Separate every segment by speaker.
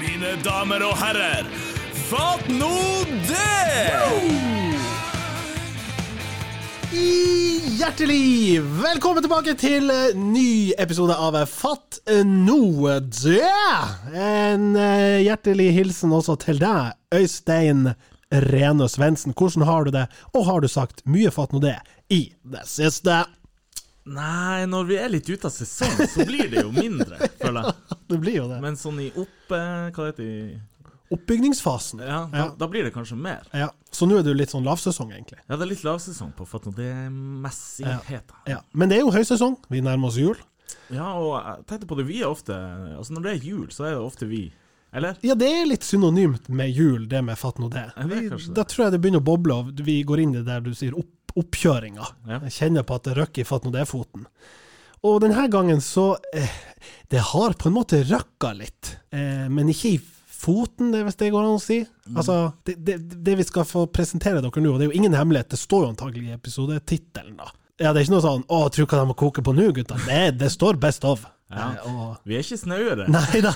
Speaker 1: mine damer og herrer. Fatt nå det!
Speaker 2: I hjertelig velkommen tilbake til eh, ny episode av eh, Fatt noe det. En eh, hjertelig hilsen også til deg, Øystein Rene Svendsen. Hvordan har du det, og har du sagt mye fatt nå det i det siste?
Speaker 1: Nei, når vi er litt ute av sesong, så blir det jo mindre, føler jeg.
Speaker 2: Det blir jo det.
Speaker 1: Men sånn i opp... eh, Hva heter det?
Speaker 2: Oppbygningsfasen.
Speaker 1: Ja, da, da blir det kanskje mer.
Speaker 2: Ja. Så nå er det jo litt sånn lavsesong, egentlig.
Speaker 1: Ja, det er litt lavsesong på Fatt nå det-messigheten.
Speaker 2: Ja. Men det er jo høysesong. Vi nærmer oss jul.
Speaker 1: Ja, og jeg tenkte på det, vi er ofte Altså når det er jul, så er det ofte vi. Eller?
Speaker 2: Ja, det er litt synonymt med jul, det med fatt nå det.
Speaker 1: Ja, det er
Speaker 2: Vi-
Speaker 1: kanskje det.
Speaker 2: Da tror jeg det begynner å boble av. Vi går inn i det der du sier opp, oppkjøringa.
Speaker 1: Ja.
Speaker 2: Jeg kjenner på at det røkker i fatt nå det-foten. Og denne gangen så eh, Det har på en måte røkka litt, eh, men ikke i foten, det, hvis det går an å si.
Speaker 1: Mm.
Speaker 2: Altså, det, det, det vi skal få presentere dere nå, og det er jo ingen hemmelighet, det står jo antagelig i episodetittelen, da. Ja, det er ikke noe sånn 'Å, tror hva de må koke på nå, gutta'. Det, det står 'Best of'.
Speaker 1: Ja.
Speaker 2: Eh, og
Speaker 1: Vi er ikke snauere.
Speaker 2: Nei da.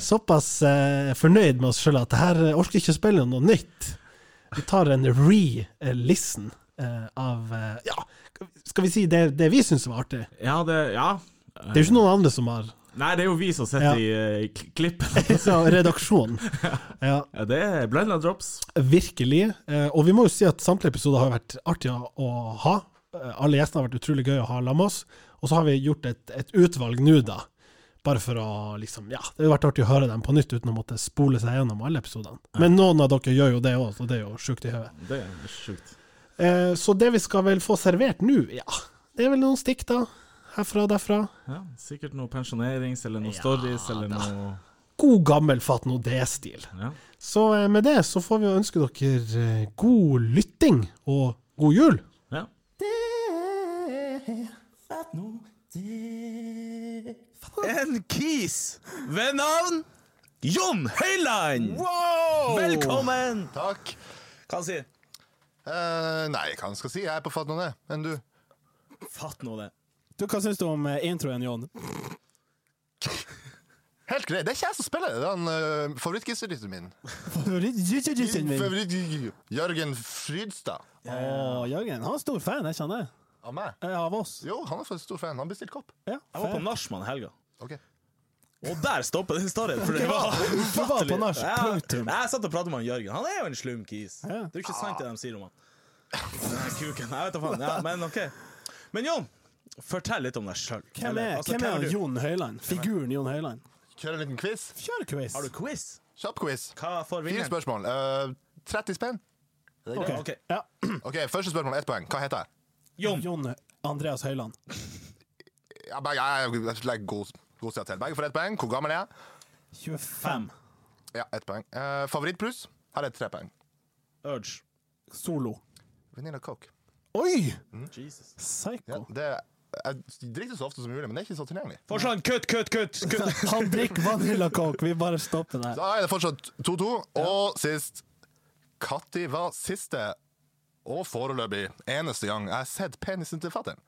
Speaker 2: Såpass eh, fornøyd med oss sjøl at det her eh, orker ikke å spille noe nytt. Vi tar en re-listen eh, av eh, Ja, skal vi si det, det vi syns var artig?
Speaker 1: Ja, det Ja.
Speaker 2: Det er jo ikke noen andre som har
Speaker 1: Nei, det er jo vi som sitter
Speaker 2: Ja.
Speaker 1: i eh, kl- klippen.
Speaker 2: så redaksjonen. Ja,
Speaker 1: Ja, det er blanda drops.
Speaker 2: virkelig. Eh, og vi må jo si at samtlige episoder har vært artige å ha. Eh, Alle gjestene har vært utrolig gøy å ha sammen med oss. Og så har vi gjort et, et utvalg nå, da. Bare for å liksom Ja, det har vært artig å høre dem på nytt uten å måtte spole seg gjennom alle episodene. Men noen av dere gjør jo det òg, så det er jo sjukt i hodet.
Speaker 1: Det er sjukt.
Speaker 2: Eh, så det vi skal vel få servert nå, ja Det er vel noen stikk, da. Herfra og derfra.
Speaker 1: Ja, sikkert noe pensjonerings eller noe
Speaker 2: Ja,
Speaker 1: stories eller
Speaker 2: da.
Speaker 1: noe
Speaker 2: God gammel Fat No D-stil.
Speaker 1: ja.
Speaker 2: Så eh, med det så får vi jo ønske dere eh, god lytting og god jul.
Speaker 1: ja.
Speaker 3: En kis ved navn Jon Høiland! Velkommen!
Speaker 4: Takk.
Speaker 3: Hva han sier
Speaker 4: Eh, nei, hva skal jeg si? Jeg er på fatt noe, enn du.
Speaker 3: Fatt nå det.
Speaker 5: Du, Hva syns du om eh, introen, Jon?
Speaker 4: Helt greit. Det er ikke jeg som spiller det. Det er han uh, favorittgitaristen min.
Speaker 5: Favorittjujujujuen min.
Speaker 4: Favoritt Jørgen Frydstad.
Speaker 5: Å, Jørgen, han er stor fan, jeg kjenner.
Speaker 4: Av meg?
Speaker 5: Eh, Av oss.
Speaker 4: Jo, han er for stor fan. Han bestilte kopp.
Speaker 5: Ja,
Speaker 3: Jeg var på
Speaker 5: fan.
Speaker 3: nachspiel i helga.
Speaker 4: Ok.
Speaker 3: Og der stopper den storyen, for det var
Speaker 5: Du var på nach,
Speaker 3: Ja,
Speaker 5: punktum.
Speaker 3: Jeg satt og pratet med han Jørgen. Han er jo en slum kis. Det
Speaker 5: Ja.
Speaker 3: er jo ikke sant det de sier om han. Nei, Kuken. Jeg vet da faen. Ja, men OK. Men Jon, fortell litt om deg sjøl.
Speaker 5: Hvem er, hvem er
Speaker 3: du?
Speaker 5: Jon Høiland? Figuren Jon Høiland?
Speaker 4: Kjøre en liten quiz.
Speaker 5: Kjør quiz.
Speaker 3: Har du quiz?
Speaker 4: Kjapp quiz.
Speaker 3: Hva får
Speaker 4: Fire
Speaker 3: vinneren?
Speaker 4: spørsmål. Eh, 30 spenn.
Speaker 5: Ok.
Speaker 3: Ok.
Speaker 5: Ja.
Speaker 4: Ok, Første spørsmål, ett poeng. Hva heter jeg?
Speaker 3: Jon.
Speaker 5: Jon Andreas Høiland.
Speaker 4: Ja, begge, jeg jeg legger god, god sida til. Begge får ett poeng. Hvor gammel er jeg?
Speaker 5: 25.
Speaker 4: Ja, ett poeng. Uh, Favorittbrus? Her er tre poeng.
Speaker 3: Urge.
Speaker 5: Solo.
Speaker 4: Vanilla Coke.
Speaker 5: Oi!
Speaker 4: Mm.
Speaker 3: Jesus.
Speaker 4: Ja,
Speaker 5: Psycho.
Speaker 4: det, jeg drikker så ofte som mulig, men det er ikke så tilgjengelig.
Speaker 3: Forsland, kutt, kutt, kutt! kutt.
Speaker 5: Han drikker Vanilla Coke. Vi bare stopper der.
Speaker 4: Da er det fortsatt 2-2. Og sist Katti var siste og foreløpig eneste gang jeg har sett penisen til fatter'n.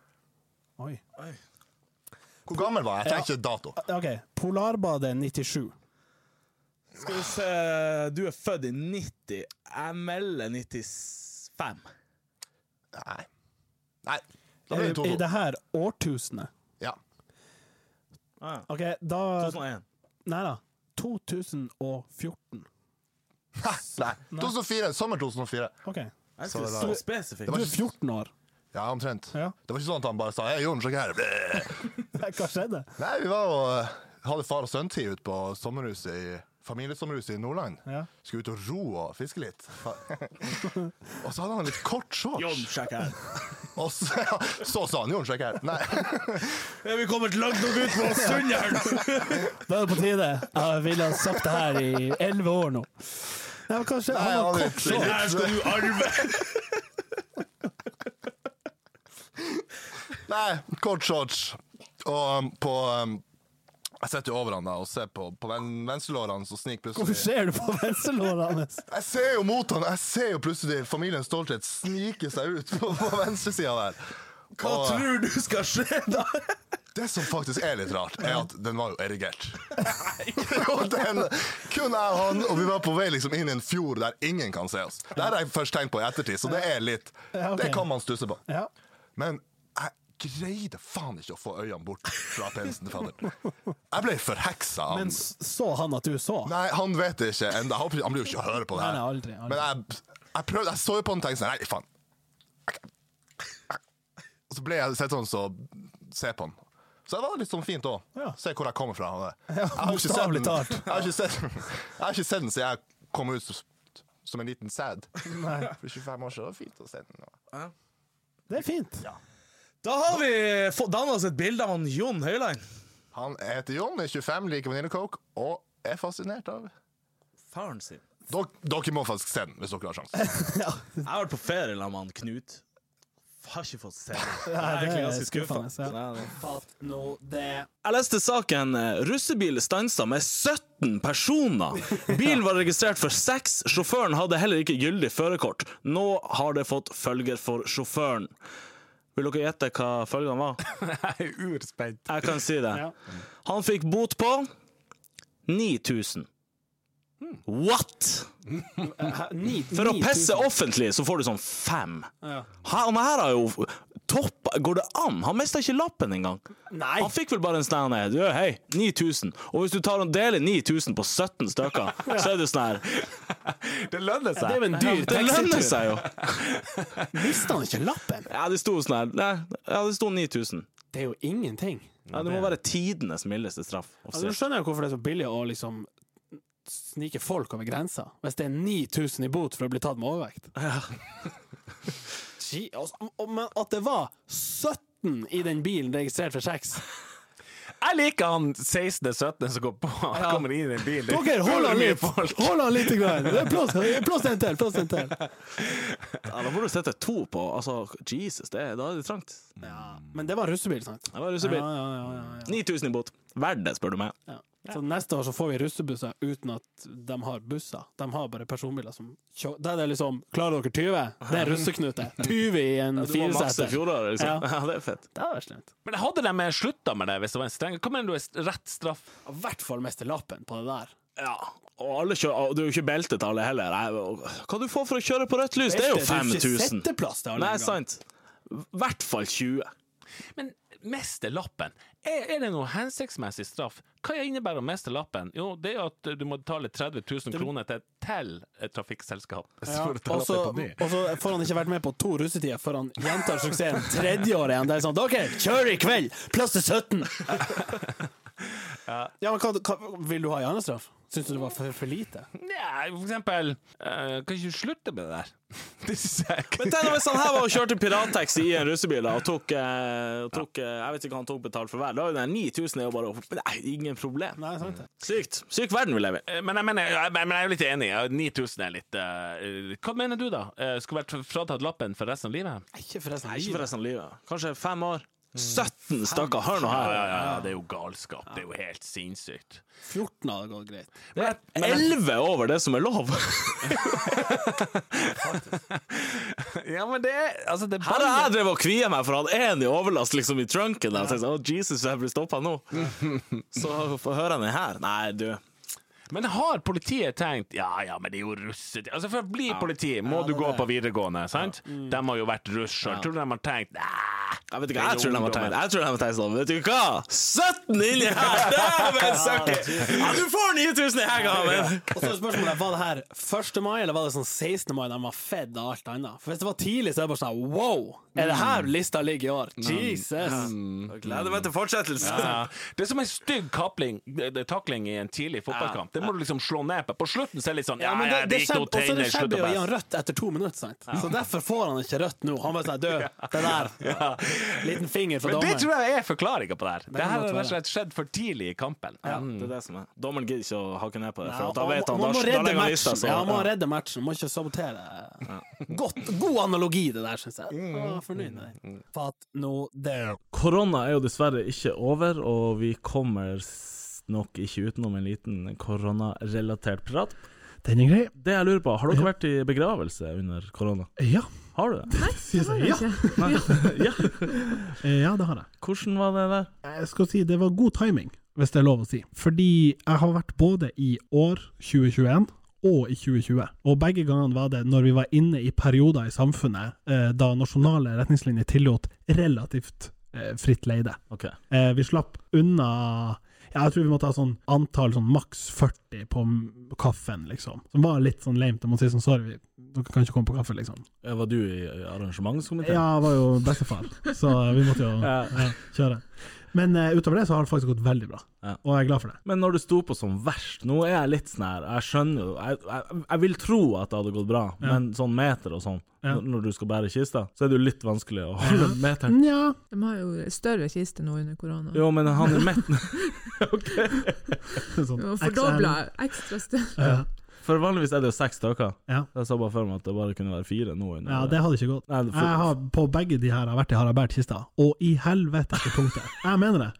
Speaker 5: Oi.
Speaker 4: Hvor gammel var jeg? Jeg trenger ikke dato.
Speaker 5: OK. Polarbadet 97.
Speaker 3: Skal vi se Du er født i 90. Jeg melder 95.
Speaker 4: Nei. Nei. Da
Speaker 5: Er
Speaker 4: blir
Speaker 5: vi Eh, I
Speaker 4: det 2-2.
Speaker 5: det her årtusenet.
Speaker 4: Ja.
Speaker 3: Ah,
Speaker 5: OK, da
Speaker 3: 2001.
Speaker 5: Nei da. 2014.
Speaker 4: Nei. 2004. Sommer 2004.
Speaker 5: OK.
Speaker 3: Jeg
Speaker 4: Så
Speaker 3: skulle
Speaker 4: det
Speaker 3: så
Speaker 4: var-
Speaker 3: spesifikk.
Speaker 4: Det var
Speaker 5: Du
Speaker 4: ikke-
Speaker 5: er 14 år.
Speaker 4: Ja, omtrent.
Speaker 5: Ja.
Speaker 4: Det var ikke sånn at han bare sa 'Hei, Jon, sjekk her'. Bleh.
Speaker 5: Hva skjedde?
Speaker 4: Nei, vi var og eh, hadde far og sønn-tid ute på sommerhuset i familiesommerhuset i Nordland.
Speaker 5: Ja.
Speaker 4: Skulle ut og ro og fiske litt. og så hadde han litt kort
Speaker 3: Jon,
Speaker 4: shorts.
Speaker 3: sjekk her.
Speaker 4: Og så, ja, så sa han Jon, sjekk her. Nei.
Speaker 3: Er vi kommet langt nok ut på Sunndalen?
Speaker 5: Da er det på tide. Jeg ville ha sagt det her i elleve år nå. Nei, men kanskje
Speaker 4: Nei,
Speaker 5: han
Speaker 4: han
Speaker 5: har
Speaker 4: er
Speaker 5: kort
Speaker 4: litt-
Speaker 5: shorts.
Speaker 3: Her skal du arve!
Speaker 4: Nei, kort shorts. Og um, på um, Jeg sitter jo over han da og ser på, på ven, venstrelårene som sniker
Speaker 5: Hvorfor
Speaker 4: plutselig
Speaker 5: ser du på venstrelåret hans?
Speaker 4: Jeg ser jo mot han, jeg ser jo plutselig familien Stolthet snike seg ut på, på venstresida der.
Speaker 3: Hva
Speaker 4: Og,
Speaker 3: tror du skal skje da?
Speaker 4: Det som faktisk er litt rart, er at den var jo erigert. og den, kun jeg og han, og vi var på vei liksom inn i en fjord der ingen kan se oss. Det har jeg først tenkt på i ettertid, så det er litt
Speaker 5: Ja, ok.
Speaker 4: Det kan man stusse på.
Speaker 5: Ja.
Speaker 4: Men jeg greide faen ikke å få øynene bort fra penisen til fadder. Jeg ble forheksa av
Speaker 5: Men
Speaker 4: den.
Speaker 5: s- så han at du så?
Speaker 4: Nei, han vet det ikke ennå. Han blir- han blir jo ikke å høre på det her.
Speaker 5: Nei, nei, aldri, aldri.
Speaker 4: Men jeg, jeg prøvde, jeg så jo på han og tenkte sånn Nei, faen. Og så ble jeg sett sånn så Se på han. Så det var litt sånn fint òg.
Speaker 5: Ja.
Speaker 4: Se hvor jeg kommer fra. og det.
Speaker 5: Ja,
Speaker 4: Jeg har jo ikke sett
Speaker 5: bokstavelig
Speaker 4: den-
Speaker 5: talt.
Speaker 4: jeg har ikke sett den- jeg har ikke sett den siden jeg kom ut s- som en liten sæd. For 25 år siden. Det var fint å se den.
Speaker 5: Det er fint.
Speaker 3: Da har vi fått danna oss et bilde av han Jon Høiland.
Speaker 4: Han heter Jon, er 25, liker Vanilla Coke og er fascinert av
Speaker 3: Faren sin.
Speaker 4: Dere, dere må faktisk se den hvis dere har sjansen.
Speaker 3: Jeg har vært på ferie sammen med han Knut. Har ikke fått se det. Jeg
Speaker 5: Nei,
Speaker 3: er
Speaker 5: det
Speaker 3: egentlig
Speaker 5: er
Speaker 3: ganske skuffa.
Speaker 5: skuffende,
Speaker 3: Nei,
Speaker 5: ja.
Speaker 3: nei.
Speaker 5: Nå det
Speaker 3: Jeg leste saken eh, 'Russebil stansa med 17 personer'. Bilen var registrert for seks, sjåføren hadde heller ikke gyldig førerkort. Nå har det fått følger for sjåføren. Vil dere gjette hva følgene var?
Speaker 6: Jeg er urspent.
Speaker 3: Jeg kan si det.
Speaker 5: Ja.
Speaker 3: Han fikk bot på 9000. What?! For å pisse offentlig så får du sånn fem.
Speaker 5: Ja.
Speaker 3: Han her har jo toppa Går det an? Han mista ikke lappen engang.
Speaker 5: Nei!
Speaker 3: Han fikk vel bare en stand ned. Du, hei, 9000. Og hvis du tar og deler 9000 på 17 stykker, så er du sånn her.
Speaker 6: Det lønner
Speaker 5: Det
Speaker 6: seg.
Speaker 5: er jo en dyr
Speaker 3: Det lønner
Speaker 5: taxitur.
Speaker 3: seg jo!
Speaker 5: Mista han ikke lappen?
Speaker 3: Ja, det sto sånn her. Nei, ja, det sto 9000.
Speaker 5: Det er jo ingenting.
Speaker 3: Ja, det må være tidenes mildeste straff.
Speaker 5: Altså, nå
Speaker 3: offisielt.
Speaker 5: skjønner jeg hvorfor det er så billig å liksom snike folk over grensa. Hvis det er 9000 i bot for å bli tatt med overvekt. Gi- altså, og- Men at det var 17 i den bilen registrert for sex
Speaker 6: Jeg liker han 16.-17. som går på. Han
Speaker 5: Ja.
Speaker 6: kommer inn i en bil. Det
Speaker 5: Dere, hold
Speaker 6: er
Speaker 5: han
Speaker 6: mye
Speaker 5: litt!
Speaker 6: folk.
Speaker 5: Hold han litt! Grann. Det er Plass plass til en til! Plass til en til.
Speaker 3: Ja, da får du sette to på. Altså, Jesus, det, da er det trangt.
Speaker 5: Ja, men det var russebil, sant?
Speaker 3: Det var
Speaker 5: Ja,
Speaker 3: russebil.
Speaker 5: ja, ja, ja, ja.
Speaker 3: 9000 i bot. Verdt det, spør du meg.
Speaker 5: Ja. Så neste år så får vi russebusser uten at de har busser. De har bare personbiler som kjører. Da er det liksom Klarer dere 20? Det er russeknute. 20 i en
Speaker 3: Du må makse
Speaker 5: fireseter.
Speaker 3: fjoråret, liksom.
Speaker 5: Ja.
Speaker 3: Ja. det er fett.
Speaker 5: Det hadde vært slemt.
Speaker 6: Men hadde de slutta med det hvis det var en streng Hva mener du er rett straff?
Speaker 5: I hvert fall miste lappen på det der.
Speaker 3: Ja. Og alle kjører, og det er jo ikke belte til alle heller. Nei, og- Hva du får for å kjøre på rødt lys, det er jo
Speaker 5: Belte, Det er ikke
Speaker 3: 5000.
Speaker 5: setteplass til alle
Speaker 3: Nei,
Speaker 5: engang.
Speaker 3: sant. I hvert fall 20.
Speaker 6: Men miste lappen, er, er det noe hensiktsmessig straff? Hva innebærer å miste lappen? Jo, det er jo at du må betale 30 000 kroner til, til et trafikkselskap.
Speaker 5: Ja.
Speaker 6: For å ta
Speaker 5: Og så
Speaker 6: lappen på ny.
Speaker 5: og så får han ikke vært med på to russetider før han gjentar suksessen tredje året igjen. Det er sånn OK, kjør i kveld! Plass til 17! Ja, men hva, hva vil du ha i annen straff? Syns du det var for, for lite?
Speaker 6: Nei, for eksempel eh, Kan ikke du slutte med det der? Det synes jeg ikke.
Speaker 3: Men tenk nå hvis han her var og kjørte pirattaxi i en russebil da, og tok, eh, og tok eh, Jeg vet ikke hva han tok betalt for hver. Da er jo den 9000 er jo bare Nei, ingen problem.
Speaker 5: Nei, sant det.
Speaker 3: Sykt. Syk verden vi lever i.
Speaker 6: Eh, Men jeg, mener, jeg, men jeg er jo litt enig. Ja, 9000 er litt eh, Hva mener du, da? Eh, Skulle vært fratatt lappen for resten av livet?
Speaker 5: Ikke forresten.
Speaker 3: Nei, ikke for resten av livet. Kanskje fem år. 17 stakkar, hør nå her.
Speaker 6: Det er jo galskap. Det er jo helt sinnssykt.
Speaker 5: 14 hadde gått greit.
Speaker 6: Men jeg, men jeg,
Speaker 3: 11 over det som er lov!
Speaker 6: ja, men det er altså, det er
Speaker 3: Her har jeg
Speaker 6: bare-
Speaker 3: drevet og kvia meg for han én i overlast liksom i trunken. Der. Så jeg sa, oh, Jesus, jeg blir stoppa nå. Så får høre han den her. Nei, du.
Speaker 6: Men har politiet tenkt Ja ja, men det er jo russetid Altså For å bli politi må
Speaker 5: Ja,
Speaker 6: du
Speaker 5: det Mm. er
Speaker 6: gå
Speaker 5: det.
Speaker 6: på videregående, sant? De har jo vært russ sjøl. Tror du de har tenkt Nei,
Speaker 3: Jeg vet
Speaker 6: det
Speaker 3: ikke,
Speaker 6: er
Speaker 3: jeg tror de har
Speaker 6: ungdommer."
Speaker 3: tenkt Jeg tror de har tenkt sånn, vet du hva? 17 inni her! Dæven søkker! Ja, du får 9000 i helga, men
Speaker 5: Og så er spørsmålet, Var det her 1. mai, eller var det sånn 16. mai de var fedd av alt annet? For Hvis det var tidlig, så er det bare sånn wow! Er det her lista ligger i år? Jesus!
Speaker 3: Jeg Gleder meg til fortsettelsen.
Speaker 6: Ja. Det er som en stygg kapling, det- det- takling i en tidlig fotballkamp. Det må du liksom slå ned på. På slutten så er det litt sånn Ja,
Speaker 5: Ja, men
Speaker 6: ja,
Speaker 5: det,
Speaker 6: det
Speaker 5: det
Speaker 6: gikk
Speaker 5: skjeb,
Speaker 6: noe
Speaker 5: og så er
Speaker 6: tegner,
Speaker 5: det
Speaker 6: slutt
Speaker 5: skjebbe å gi
Speaker 6: å
Speaker 5: han rødt etter to minutter. Sant? Så derfor får han ikke rødt nå. Han bare sånn død, det der. Liten finger fra
Speaker 6: Men
Speaker 5: dommeren.
Speaker 6: det tror jeg er forklaringa på det her. Det
Speaker 5: kan
Speaker 6: her har
Speaker 5: godt
Speaker 6: rett og
Speaker 5: være.
Speaker 6: slett skjedd for tidlig i kampen.
Speaker 3: Det er det som er. Dommeren gidder ikke å hakke ned på det,
Speaker 5: Mm. Ja,
Speaker 3: for at da
Speaker 5: og
Speaker 3: vet han,
Speaker 5: man
Speaker 3: da,
Speaker 5: må
Speaker 3: da
Speaker 5: redde
Speaker 3: legger han
Speaker 1: altså.
Speaker 3: lista.
Speaker 5: matchen.
Speaker 3: Så,
Speaker 5: Ja, man må redde matchen, må ikke sabotere. Godt, god analogi, det der, syns jeg. Ja, Fornøyd med den. Fatt nå det.
Speaker 1: Korona er jo dessverre ikke over, og vi kommer s- nok ikke utenom en liten koronarelatert prat.
Speaker 2: Den er grei.
Speaker 1: Det jeg lurer på, har dere vært i begravelse under korona?
Speaker 2: Ja.
Speaker 1: Har du det?
Speaker 2: Sier
Speaker 7: Har
Speaker 2: jeg
Speaker 7: du
Speaker 2: ja.
Speaker 7: ikke?
Speaker 1: Nei. ja.
Speaker 2: Eh, ja, det har jeg.
Speaker 1: Hvordan var det der?
Speaker 2: Jeg skal si det var god timing, hvis det er lov å si. Fordi jeg har vært både i år 2021 og i 2020. Og begge gangene var det når vi var inne i perioder i samfunnet eh, da nasjonale retningslinjer tillot relativt eh, fritt leide.
Speaker 1: Ok.
Speaker 2: Eh, vi slapp unna ja, Jeg tror vi måtte ha sånn antall sånn maks 40 på m- kaffen, liksom. Som var litt sånn lame. Jeg må si sånn sorry, vi, dere kan ikke komme på kaffe, liksom.
Speaker 1: Eh, Var du i arrangementskomiteen?
Speaker 2: Ja, jeg var jo bestefar, så vi måtte jo
Speaker 1: Ja.
Speaker 2: ja, kjøre. Men eh, utover det så har det faktisk gått veldig bra,
Speaker 1: Ja.
Speaker 2: og jeg er glad for det.
Speaker 1: Men når du sto på som verst Nå er jeg litt sånn her Jeg skjønner jo jeg, jeg, jeg vil tro at det hadde gått bra,
Speaker 2: Ja.
Speaker 1: men sånn meter og sånn
Speaker 2: Ja.
Speaker 1: når- Når du skal bære kista, så er det jo litt vanskelig å holde meteren.
Speaker 2: Nja,
Speaker 7: De har jo større kiste nå under korona.
Speaker 1: Jo, men han i midten
Speaker 2: sånn
Speaker 7: Og
Speaker 2: XL.
Speaker 7: Fordobla ekstra større.
Speaker 2: Ja,
Speaker 1: For vanligvis er det jo seks stykker.
Speaker 2: Ja.
Speaker 1: Jeg så bare for meg at det bare kunne være fire nå. under-
Speaker 2: ja, det hadde ikke gått.
Speaker 1: Nei, det- for,
Speaker 2: Jeg har på begge de her har vært i Haraldberg-kista, og i helvete ikke punktet. Jeg mener det.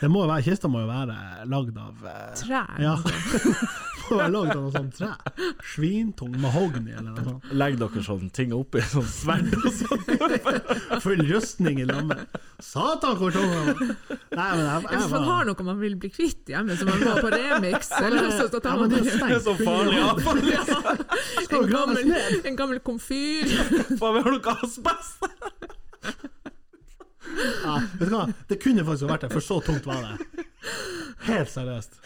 Speaker 2: Det må jo være, Kista må jo være lagd av eh,
Speaker 7: Trær. altså.
Speaker 2: Ja. Må være lagd av noe sånt tre. Svintung mahogni eller noe sånt.
Speaker 1: Legg dere sånn ting oppi, sånn sverd og sånn.
Speaker 2: Full rustning i lammet. Satan, hvor tung den var! Nei, men jeg, jeg,
Speaker 7: Hvis man
Speaker 2: var-
Speaker 7: har noe man vil bli kvitt hjemme, som man må på Remix eller noe sånt, da
Speaker 2: Ja,
Speaker 7: tar
Speaker 2: men
Speaker 7: man
Speaker 2: det er jo
Speaker 7: bare
Speaker 2: stengt.
Speaker 1: Så farlig avfall!
Speaker 2: Skal jo
Speaker 7: en
Speaker 2: graves
Speaker 7: gammel,
Speaker 2: ned.
Speaker 7: en gammel komfyr.
Speaker 1: Faen, vi har noe asbest!
Speaker 2: Ja, vet du hva? Det kunne faktisk vært det, for så tungt var det. Helt seriøst.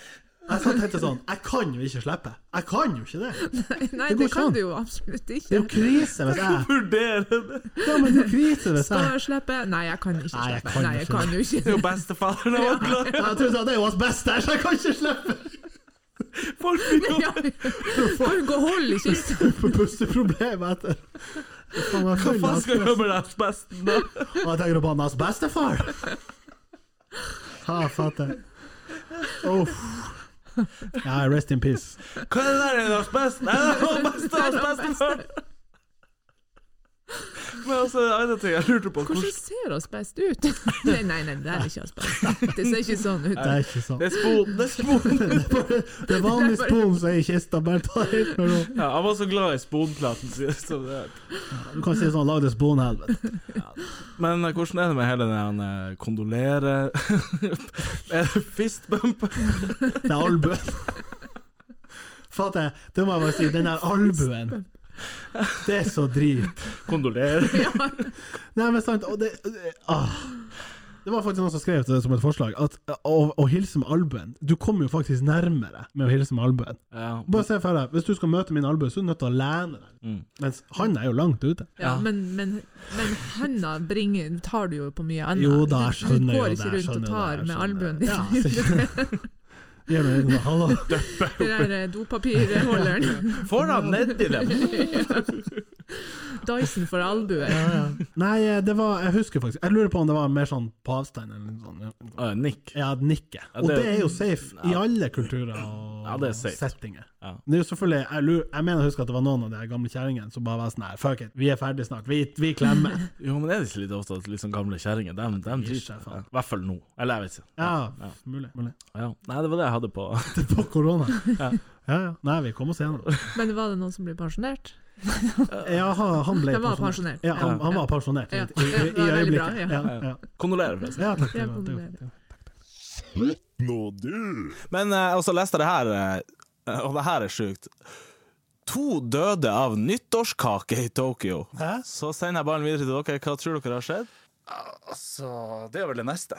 Speaker 2: Jeg satt og tenkte sånn Jeg kan jo ikke slippe. Jeg kan jo ikke det.
Speaker 7: Nei,
Speaker 2: Det går ikke
Speaker 7: det
Speaker 2: an.
Speaker 7: kan du jo absolutt
Speaker 2: Det er
Speaker 7: ikke.
Speaker 2: jo krise hvis jeg
Speaker 1: Vurdere det!
Speaker 2: Ja, men det er jo krise hvis
Speaker 7: Skal
Speaker 2: jeg
Speaker 7: jeg slippe? Nei, jeg kan ikke
Speaker 2: Nei, jeg
Speaker 7: slippe.
Speaker 2: kan
Speaker 7: Nei, jeg
Speaker 2: ikke.
Speaker 7: kan
Speaker 1: Det
Speaker 7: jo
Speaker 1: er
Speaker 7: ikke.
Speaker 1: jo bestefaren av Aglar!
Speaker 2: Jeg trodde at det var best der, så jeg kan ikke slippe!
Speaker 1: Folk blir jo
Speaker 7: Ja. Kan du gå og holde i kista?
Speaker 2: For pusteproblemer etter. Faen, jeg er
Speaker 1: Hva
Speaker 2: full av
Speaker 1: faen skal jeg
Speaker 2: stress.
Speaker 1: gjøre med asbesten, da?
Speaker 2: Og jeg tenker på hans bestefar! Ha, fatter. Uff. Ja, rest in peace.
Speaker 1: Hva er det der med asbest? Nei, det var best av bestefaren! Men altså, en annen ting jeg lurte på
Speaker 7: Hvordan
Speaker 1: hvordan-
Speaker 7: ser oss best ut? Nei, nei, nei, det er ikke oss best. Det ser ikke sånn ut.
Speaker 2: Det er ikke sånn.
Speaker 1: Det er spon, det er spon!
Speaker 2: Det er vanlig spon som er i kista, bare ta helt med ro.
Speaker 1: Ja, han var så glad i sponplaten sin. så det-
Speaker 2: Du kan si sånn, lag det sponhelvete.
Speaker 1: Men eh, hvordan er det med hele den eh, kondolere Er det fistbump?
Speaker 2: Det er albuen. Fatter, det må jeg bare si. Den der albuen. Det er så drit.
Speaker 1: Kondolere?
Speaker 2: Nei, men sant, og det ah. Det var faktisk noen som skrev til det som et forslag, at å, å hilse med albuen Du kommer jo faktisk nærmere med å hilse med albuen.
Speaker 1: Ja.
Speaker 2: Bare se for deg, hvis du skal møte min albue, så er du nødt til å lene deg.
Speaker 1: Mm.
Speaker 2: Mens han er jo langt ute.
Speaker 7: Ja, men, men, men handa bringer, tar du jo på mye annet.
Speaker 2: Jo da, jeg
Speaker 7: Du-
Speaker 2: skjønner jo
Speaker 7: Du går
Speaker 2: det.
Speaker 7: ikke
Speaker 2: jeg
Speaker 7: rundt og
Speaker 2: skjønner
Speaker 7: tar
Speaker 2: det, jeg
Speaker 7: med
Speaker 2: skjønner
Speaker 7: albuen
Speaker 2: det.
Speaker 7: din.
Speaker 2: Ja, sikkert. Gi meg en sånn, hallo.
Speaker 7: Det der eh, dopapirholderen.
Speaker 1: Får han nedi dem?
Speaker 7: Dyson for albuer.
Speaker 2: Ja, ja. Nei, eh, det var Jeg husker faktisk Jeg lurer på om det var mer sånn på avstand eller noe sånt. ja.
Speaker 1: Ah, Nick.
Speaker 2: Ja, nikket.
Speaker 1: Ja,
Speaker 2: Og
Speaker 1: det-
Speaker 2: det er jo safe i alle kulturer og
Speaker 1: Ja, det er safe.
Speaker 2: settinger.
Speaker 1: Ja.
Speaker 2: Det er jo selvfølgelig Jeg, lurer, jeg mener jeg husker at det var noen av de her gamle kjerringene som bare var sånn her Fuck it, vi er ferdig snart. Vi, vi klemmer.
Speaker 1: Jo, men er det ikke litt ofte at liksom gamle kjerringer dem, dem
Speaker 2: Gir
Speaker 1: driter
Speaker 2: seg,
Speaker 1: seg?
Speaker 2: faen.
Speaker 1: I hvert fall nå. Eller jeg vet ikke.
Speaker 2: Ja, mulig. mulig.
Speaker 1: Ja. Nei, det var det jeg hadde på.
Speaker 2: Det er på korona. Ja. ja, Nei, vi kom oss gjennom.
Speaker 7: Men var det noen som ble pensjonert?
Speaker 2: Ja, han, han ble
Speaker 7: Han var pensjonert.
Speaker 2: Ja, han, han
Speaker 7: Ja.
Speaker 2: var pensjonert i,
Speaker 7: Ja.
Speaker 2: i, i,
Speaker 7: Ja, det var veldig bra,
Speaker 2: øyeblikket.
Speaker 7: ja.
Speaker 2: Ja, ja.
Speaker 1: Kondolerer, forresten.
Speaker 2: ja takk.
Speaker 7: Ja,
Speaker 2: Det var, det var, det var.
Speaker 3: Men eh, og så leste jeg det her, eh, og det her er sjukt. To døde av nyttårskake i Tokyo. Så sender jeg ballen videre til dere. Hva tror dere har skjedd?
Speaker 8: Altså, det er vel det neste.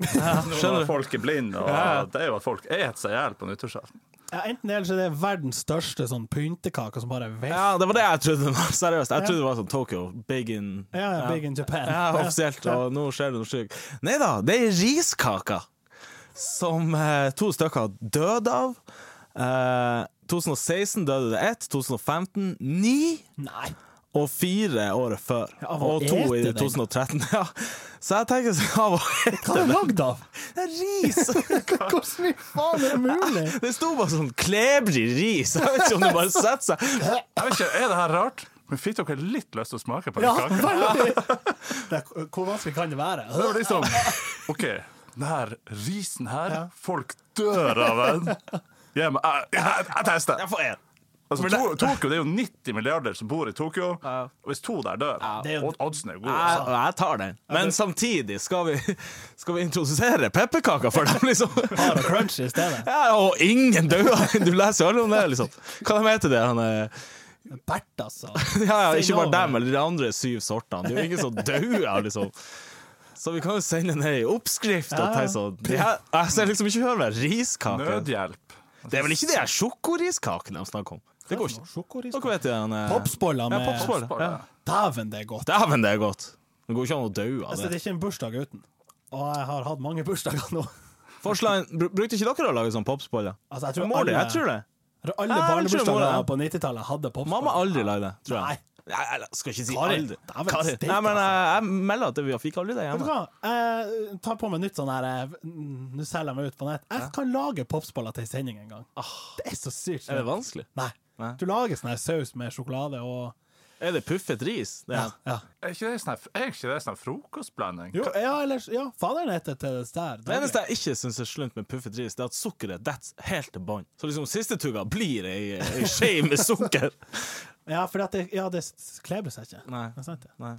Speaker 3: skjønner
Speaker 8: Når
Speaker 3: du?
Speaker 8: folk er blinde, og det er jo at folk eter seg i hjel på nyttårsaften.
Speaker 5: Ja, enten det eller så er det verdens største sånn pyntekake som bare vef.
Speaker 3: Ja, det var det jeg trodde. Seriøst. Jeg trodde det var sånn Tokyo. Big in
Speaker 5: Ja, Big in Japan.
Speaker 3: Ja, offisielt. Og nå skjer det noe sjukt. Nei da, det er riskaker som eh, to stykker døde av. Eh, 2016 døde det ett, 2015 ni.
Speaker 5: Nei.
Speaker 3: og fire året før.
Speaker 5: Ja, av å
Speaker 3: og to i
Speaker 5: ete den.
Speaker 3: 2013. Ja. Så jeg tenker sånn av å
Speaker 5: Hva
Speaker 3: ete
Speaker 5: er det lagd av?
Speaker 3: Det er ris!
Speaker 5: Hvordan i faen er det mulig?
Speaker 3: Det sto bare sånn klebrig ris. Jeg vet ikke om det bare setter seg.
Speaker 8: Jeg vet ikke, Er det her rart? Men fikk dere litt lyst til å smake på den
Speaker 5: Ja,
Speaker 8: kaken?
Speaker 5: veldig. Det, er- hvor vanskelig kan det være?
Speaker 8: Det var liksom OK, den her risen her Folk dør av den. Gi meg Jeg, jeg, jeg tester.
Speaker 3: Jeg får en.
Speaker 9: Altså, for to, Tokyo, det er jo 90 milliarder som bor i Tokyo, og hvis to der dør
Speaker 5: Det er jo-
Speaker 9: og Oddsen er jo gode.
Speaker 3: Jeg,
Speaker 9: Altså.
Speaker 3: jeg tar den. Eh, Men samtidig, skal vi, skal vi introdusere pepperkaker for dem, liksom?
Speaker 5: Bare crunch i stedet.
Speaker 3: Ja, og ingen dauer! Du leser jo alle om det, liksom. Hva de heter det? Han er,
Speaker 5: Bert, altså.
Speaker 3: ja, ja, ikke bare
Speaker 5: Say no.
Speaker 3: dem, eller de andre syv sortene. Det er jo ingen som dauer, liksom. Så vi kan jo sende ned ei oppskrift og tenke sånn det her- Jeg ser liksom ikke for meg riskake.
Speaker 9: Nødhjelp.
Speaker 3: Det er vel ikke de her sjokoriskakene de snakker om? Det går ikke. Dere vet jo den eh,
Speaker 5: Popsboller
Speaker 3: Ja,
Speaker 5: med
Speaker 3: popsboller. Ja.
Speaker 5: Dæven, det er godt.
Speaker 3: Dæven, det er godt. Det går ikke an å dø av
Speaker 5: Altså, det
Speaker 3: det.
Speaker 5: er ikke en bursdag uten. Og jeg har hatt mange bursdager nå.
Speaker 3: Forslagen, br brukte ikke dere å lage sånn popsboller?
Speaker 5: Altså, jeg tror
Speaker 3: Mor di,
Speaker 5: alle-
Speaker 3: jeg tror det.
Speaker 5: Jeg tror Alle
Speaker 3: Nei, jeg tror mor
Speaker 5: barnebursdager
Speaker 3: er-
Speaker 5: på 90-tallet hadde popsboller.
Speaker 3: Mamma har aldri lagde det, tror jeg.
Speaker 5: Nei.
Speaker 3: Nei, jeg skal ikke si
Speaker 5: Kari,
Speaker 3: aldri.
Speaker 5: dæven
Speaker 3: Kari.
Speaker 5: steik,
Speaker 3: Nei, men eh,
Speaker 5: altså.
Speaker 3: jeg, jeg melder at vi fikk aldri det
Speaker 5: Vet du
Speaker 3: hjemme.
Speaker 5: hva? Jeg tar på meg nytt sånn her eh, mm, Nå selger jeg meg ut på nett. Jeg kan lage popsboller til en sending en gang.
Speaker 3: Ah.
Speaker 5: Det er så sykt.
Speaker 3: Er det
Speaker 5: sjukt.
Speaker 3: vanskelig?
Speaker 5: Nei.
Speaker 3: Nei.
Speaker 5: Du lager sånn her saus med sjokolade og
Speaker 3: Er det puffet ris? Det er.
Speaker 5: ja.
Speaker 9: Er ikke det sånn her- er ikke det sånn her frokostblanding?
Speaker 5: Jo, ja, eller Ja, faderen heter til det der.
Speaker 3: Det eneste jeg ikke syns er slunt med puffet ris, det er at sukkeret detter helt til bånn. Så liksom siste tugga blir ei ei skje med sukker.
Speaker 5: Ja, for det, ja, det s- kleber seg ikke.
Speaker 3: Nei.
Speaker 5: Det er sant, det.
Speaker 3: Nei.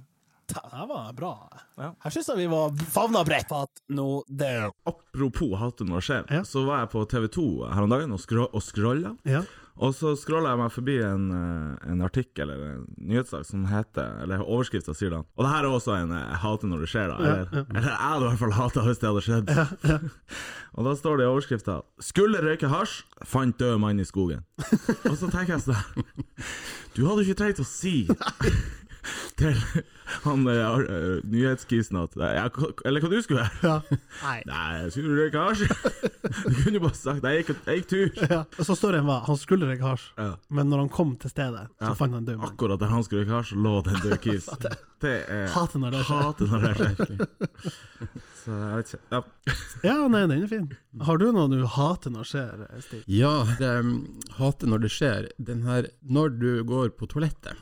Speaker 5: Det her var bra.
Speaker 3: Ja.
Speaker 5: Her syns jeg vi var favna bredt. på at nå- det er jo
Speaker 1: Apropos hatet når det skjer,
Speaker 2: Ja.
Speaker 1: så var jeg på TV2 her om dagen og, skro og scrolla.
Speaker 2: Ja.
Speaker 1: Og så scrolla jeg meg forbi en, eh, en artikkel eller en nyhetssak som heter Eller overskrifta sier da Og det her er også en eh, 'jeg hater når det skjer', da. Eller, eller jeg hadde i hvert fall hata hvis det hadde skjedd. og da står det i overskrifta 'Skulle røyke hasj, fant død mann i skogen'. og så tenker jeg sånn Du hadde ikke trengt å si til han eh, ar- eh, nyhetskisen at eh, jeg, Eller hva du skulle gjøre?
Speaker 2: Nei.
Speaker 1: Nei, jeg skulle røyke hasj. Du kunne jo bare sagt jeg gikk, jeg gikk tur.
Speaker 2: Ja. Og så står det en hva? Han skulle røyke hasj,
Speaker 1: Ja.
Speaker 2: men når han kom til stedet, så fant han en død mann.
Speaker 1: Akkurat der han skulle røyke hasj, lå det en død kis. Det er
Speaker 2: Hater når det skjer.
Speaker 1: hater når det skjer. Så jeg vet ikke. Ja.
Speaker 2: Ja, nei, den er fin. Har du noe du hater når skjer, Stig?
Speaker 10: Ja, jeg hater når det skjer. Den her, når du går på toalettet,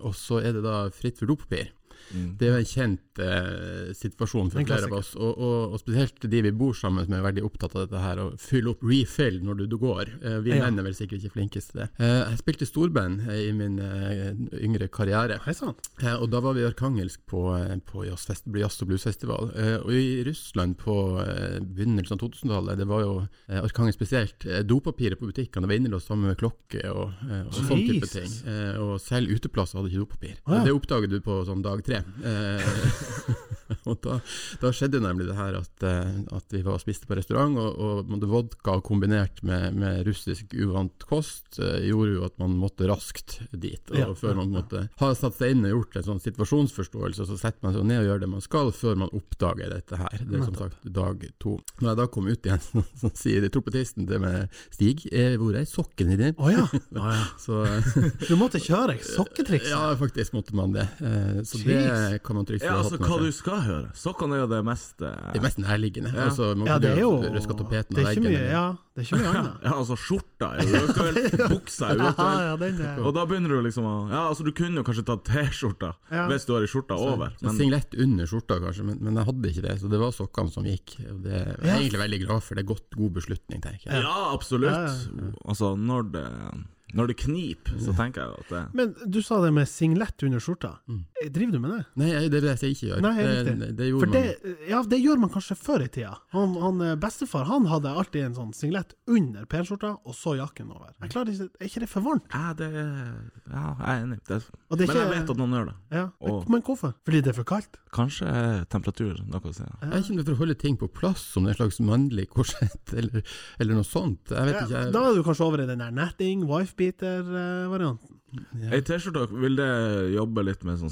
Speaker 10: og så er det da fritt for dopapir. Det er jo en kjent eh, situasjon for
Speaker 2: Mm. En
Speaker 10: flere av oss, og, og, og spesielt de vi bor sammen med er veldig opptatt av dette her, å fylle opp refill når du, du går. Eh, vi
Speaker 2: Ja.
Speaker 10: menn er vel sikkert ikke flinkest til det. Eh, jeg spilte storband eh, i min eh, yngre karriere.
Speaker 2: Hei sann.
Speaker 10: Eh, og da var vi i Arkangelsk på, eh, på jazzfest, jazz- og bluesfestival. Eh, og i Russland på eh, begynnelsen av 2000-tallet, det var jo eh, Arkangelsk spesielt, eh, dopapiret på butikkene var innelåst sammen med klokke og, eh, og sånn type ting.
Speaker 2: Jesus.
Speaker 10: Eh, og selv uteplasser hadde ikke dopapir.
Speaker 2: Å, ja.
Speaker 10: Det oppdaget du på sånn dag tre. Eh, og da, da skjedde nemlig det her at, eh, at vi var og spiste på restaurant, og, og man hadde vodka kombinert med, med russisk uvant kost eh, gjorde jo at man måtte raskt dit. Og
Speaker 2: Ja,
Speaker 10: før man måtte ha satt seg inn og gjort en sånn situasjonsforståelse, så setter man seg ned og gjør det man skal før man oppdager dette her. Det er som sagt dag to. Når jeg da kom ut igjen, så, så sier trompetisten til meg Stig, eh, hvor er sokken din?
Speaker 2: Å ja.
Speaker 10: Så eh,
Speaker 2: Du måtte kjøre sokketriks.
Speaker 10: ja, faktisk måtte man det. Eh, Så
Speaker 2: Liksom. Jeez.
Speaker 10: det kan man trygt si
Speaker 1: ja,
Speaker 10: å ha
Speaker 1: altså,
Speaker 10: hatt med
Speaker 1: hva du
Speaker 10: seg.
Speaker 1: skal høre. Sokkene er jo det mest eh,
Speaker 10: Det er mest nærliggende.
Speaker 1: Ja.
Speaker 10: Altså, man
Speaker 2: Ja,
Speaker 10: kunne
Speaker 2: det er jo
Speaker 10: røska
Speaker 2: Det er
Speaker 10: tapeten av
Speaker 2: ikke
Speaker 10: veggen.
Speaker 2: mye,
Speaker 10: eller-
Speaker 2: ja. Det er ikke mye annet.
Speaker 1: Ja, altså, skjorta er jo uaktuell. Buksa er jo
Speaker 2: Ja,
Speaker 1: uaktuell.
Speaker 2: ja, den er
Speaker 1: Og da begynner du liksom å Ja, altså, du kunne jo kanskje tatt T-skjorta
Speaker 2: Ja.
Speaker 1: hvis du har ei skjorta over,
Speaker 10: En
Speaker 1: men
Speaker 10: Singlet under skjorta, kanskje, men, men jeg hadde ikke det. Så det var sokkene som gikk. Og det jeg er
Speaker 2: Ja.
Speaker 10: egentlig veldig glad for. Det er godt, god beslutning, tenker jeg.
Speaker 1: Ja, absolutt. Altså, når det når det kniper, så tenker jeg jo at det
Speaker 2: Men du sa det med singlet under skjorta. Driver du med det?
Speaker 10: Nei, jeg- det er det jeg ikke gjør.
Speaker 2: Nei, helt
Speaker 10: det,
Speaker 2: riktig.
Speaker 10: det gjorde
Speaker 2: For det, ja, det gjør man kanskje før i tida. Han, han eh, Bestefar han hadde alltid en sånn singlet under penskjorta, og så jakken over. Jeg klarer ikke, Er ikke det for varmt?
Speaker 1: Ja, det Ja, jeg er enig. Det,
Speaker 2: Og det er
Speaker 1: men jeg
Speaker 2: ikke-
Speaker 1: vet at noen gjør det.
Speaker 2: Ja.
Speaker 1: Åh.
Speaker 2: Men hvorfor? Fordi det er for kaldt?
Speaker 1: Kanskje er temperatur noe å si. ja.
Speaker 10: man- Jeg vet ikke om det er for å holde ting på plass, som en slags mannlig korsett eller, eller noe sånt. Jeg vet
Speaker 2: Ja,
Speaker 10: ikke. Jeg,
Speaker 2: da er du kanskje over i den der netting, eh, wifebeater-varianten.
Speaker 1: Ei T-skjorte, vil det jobbe litt med sånn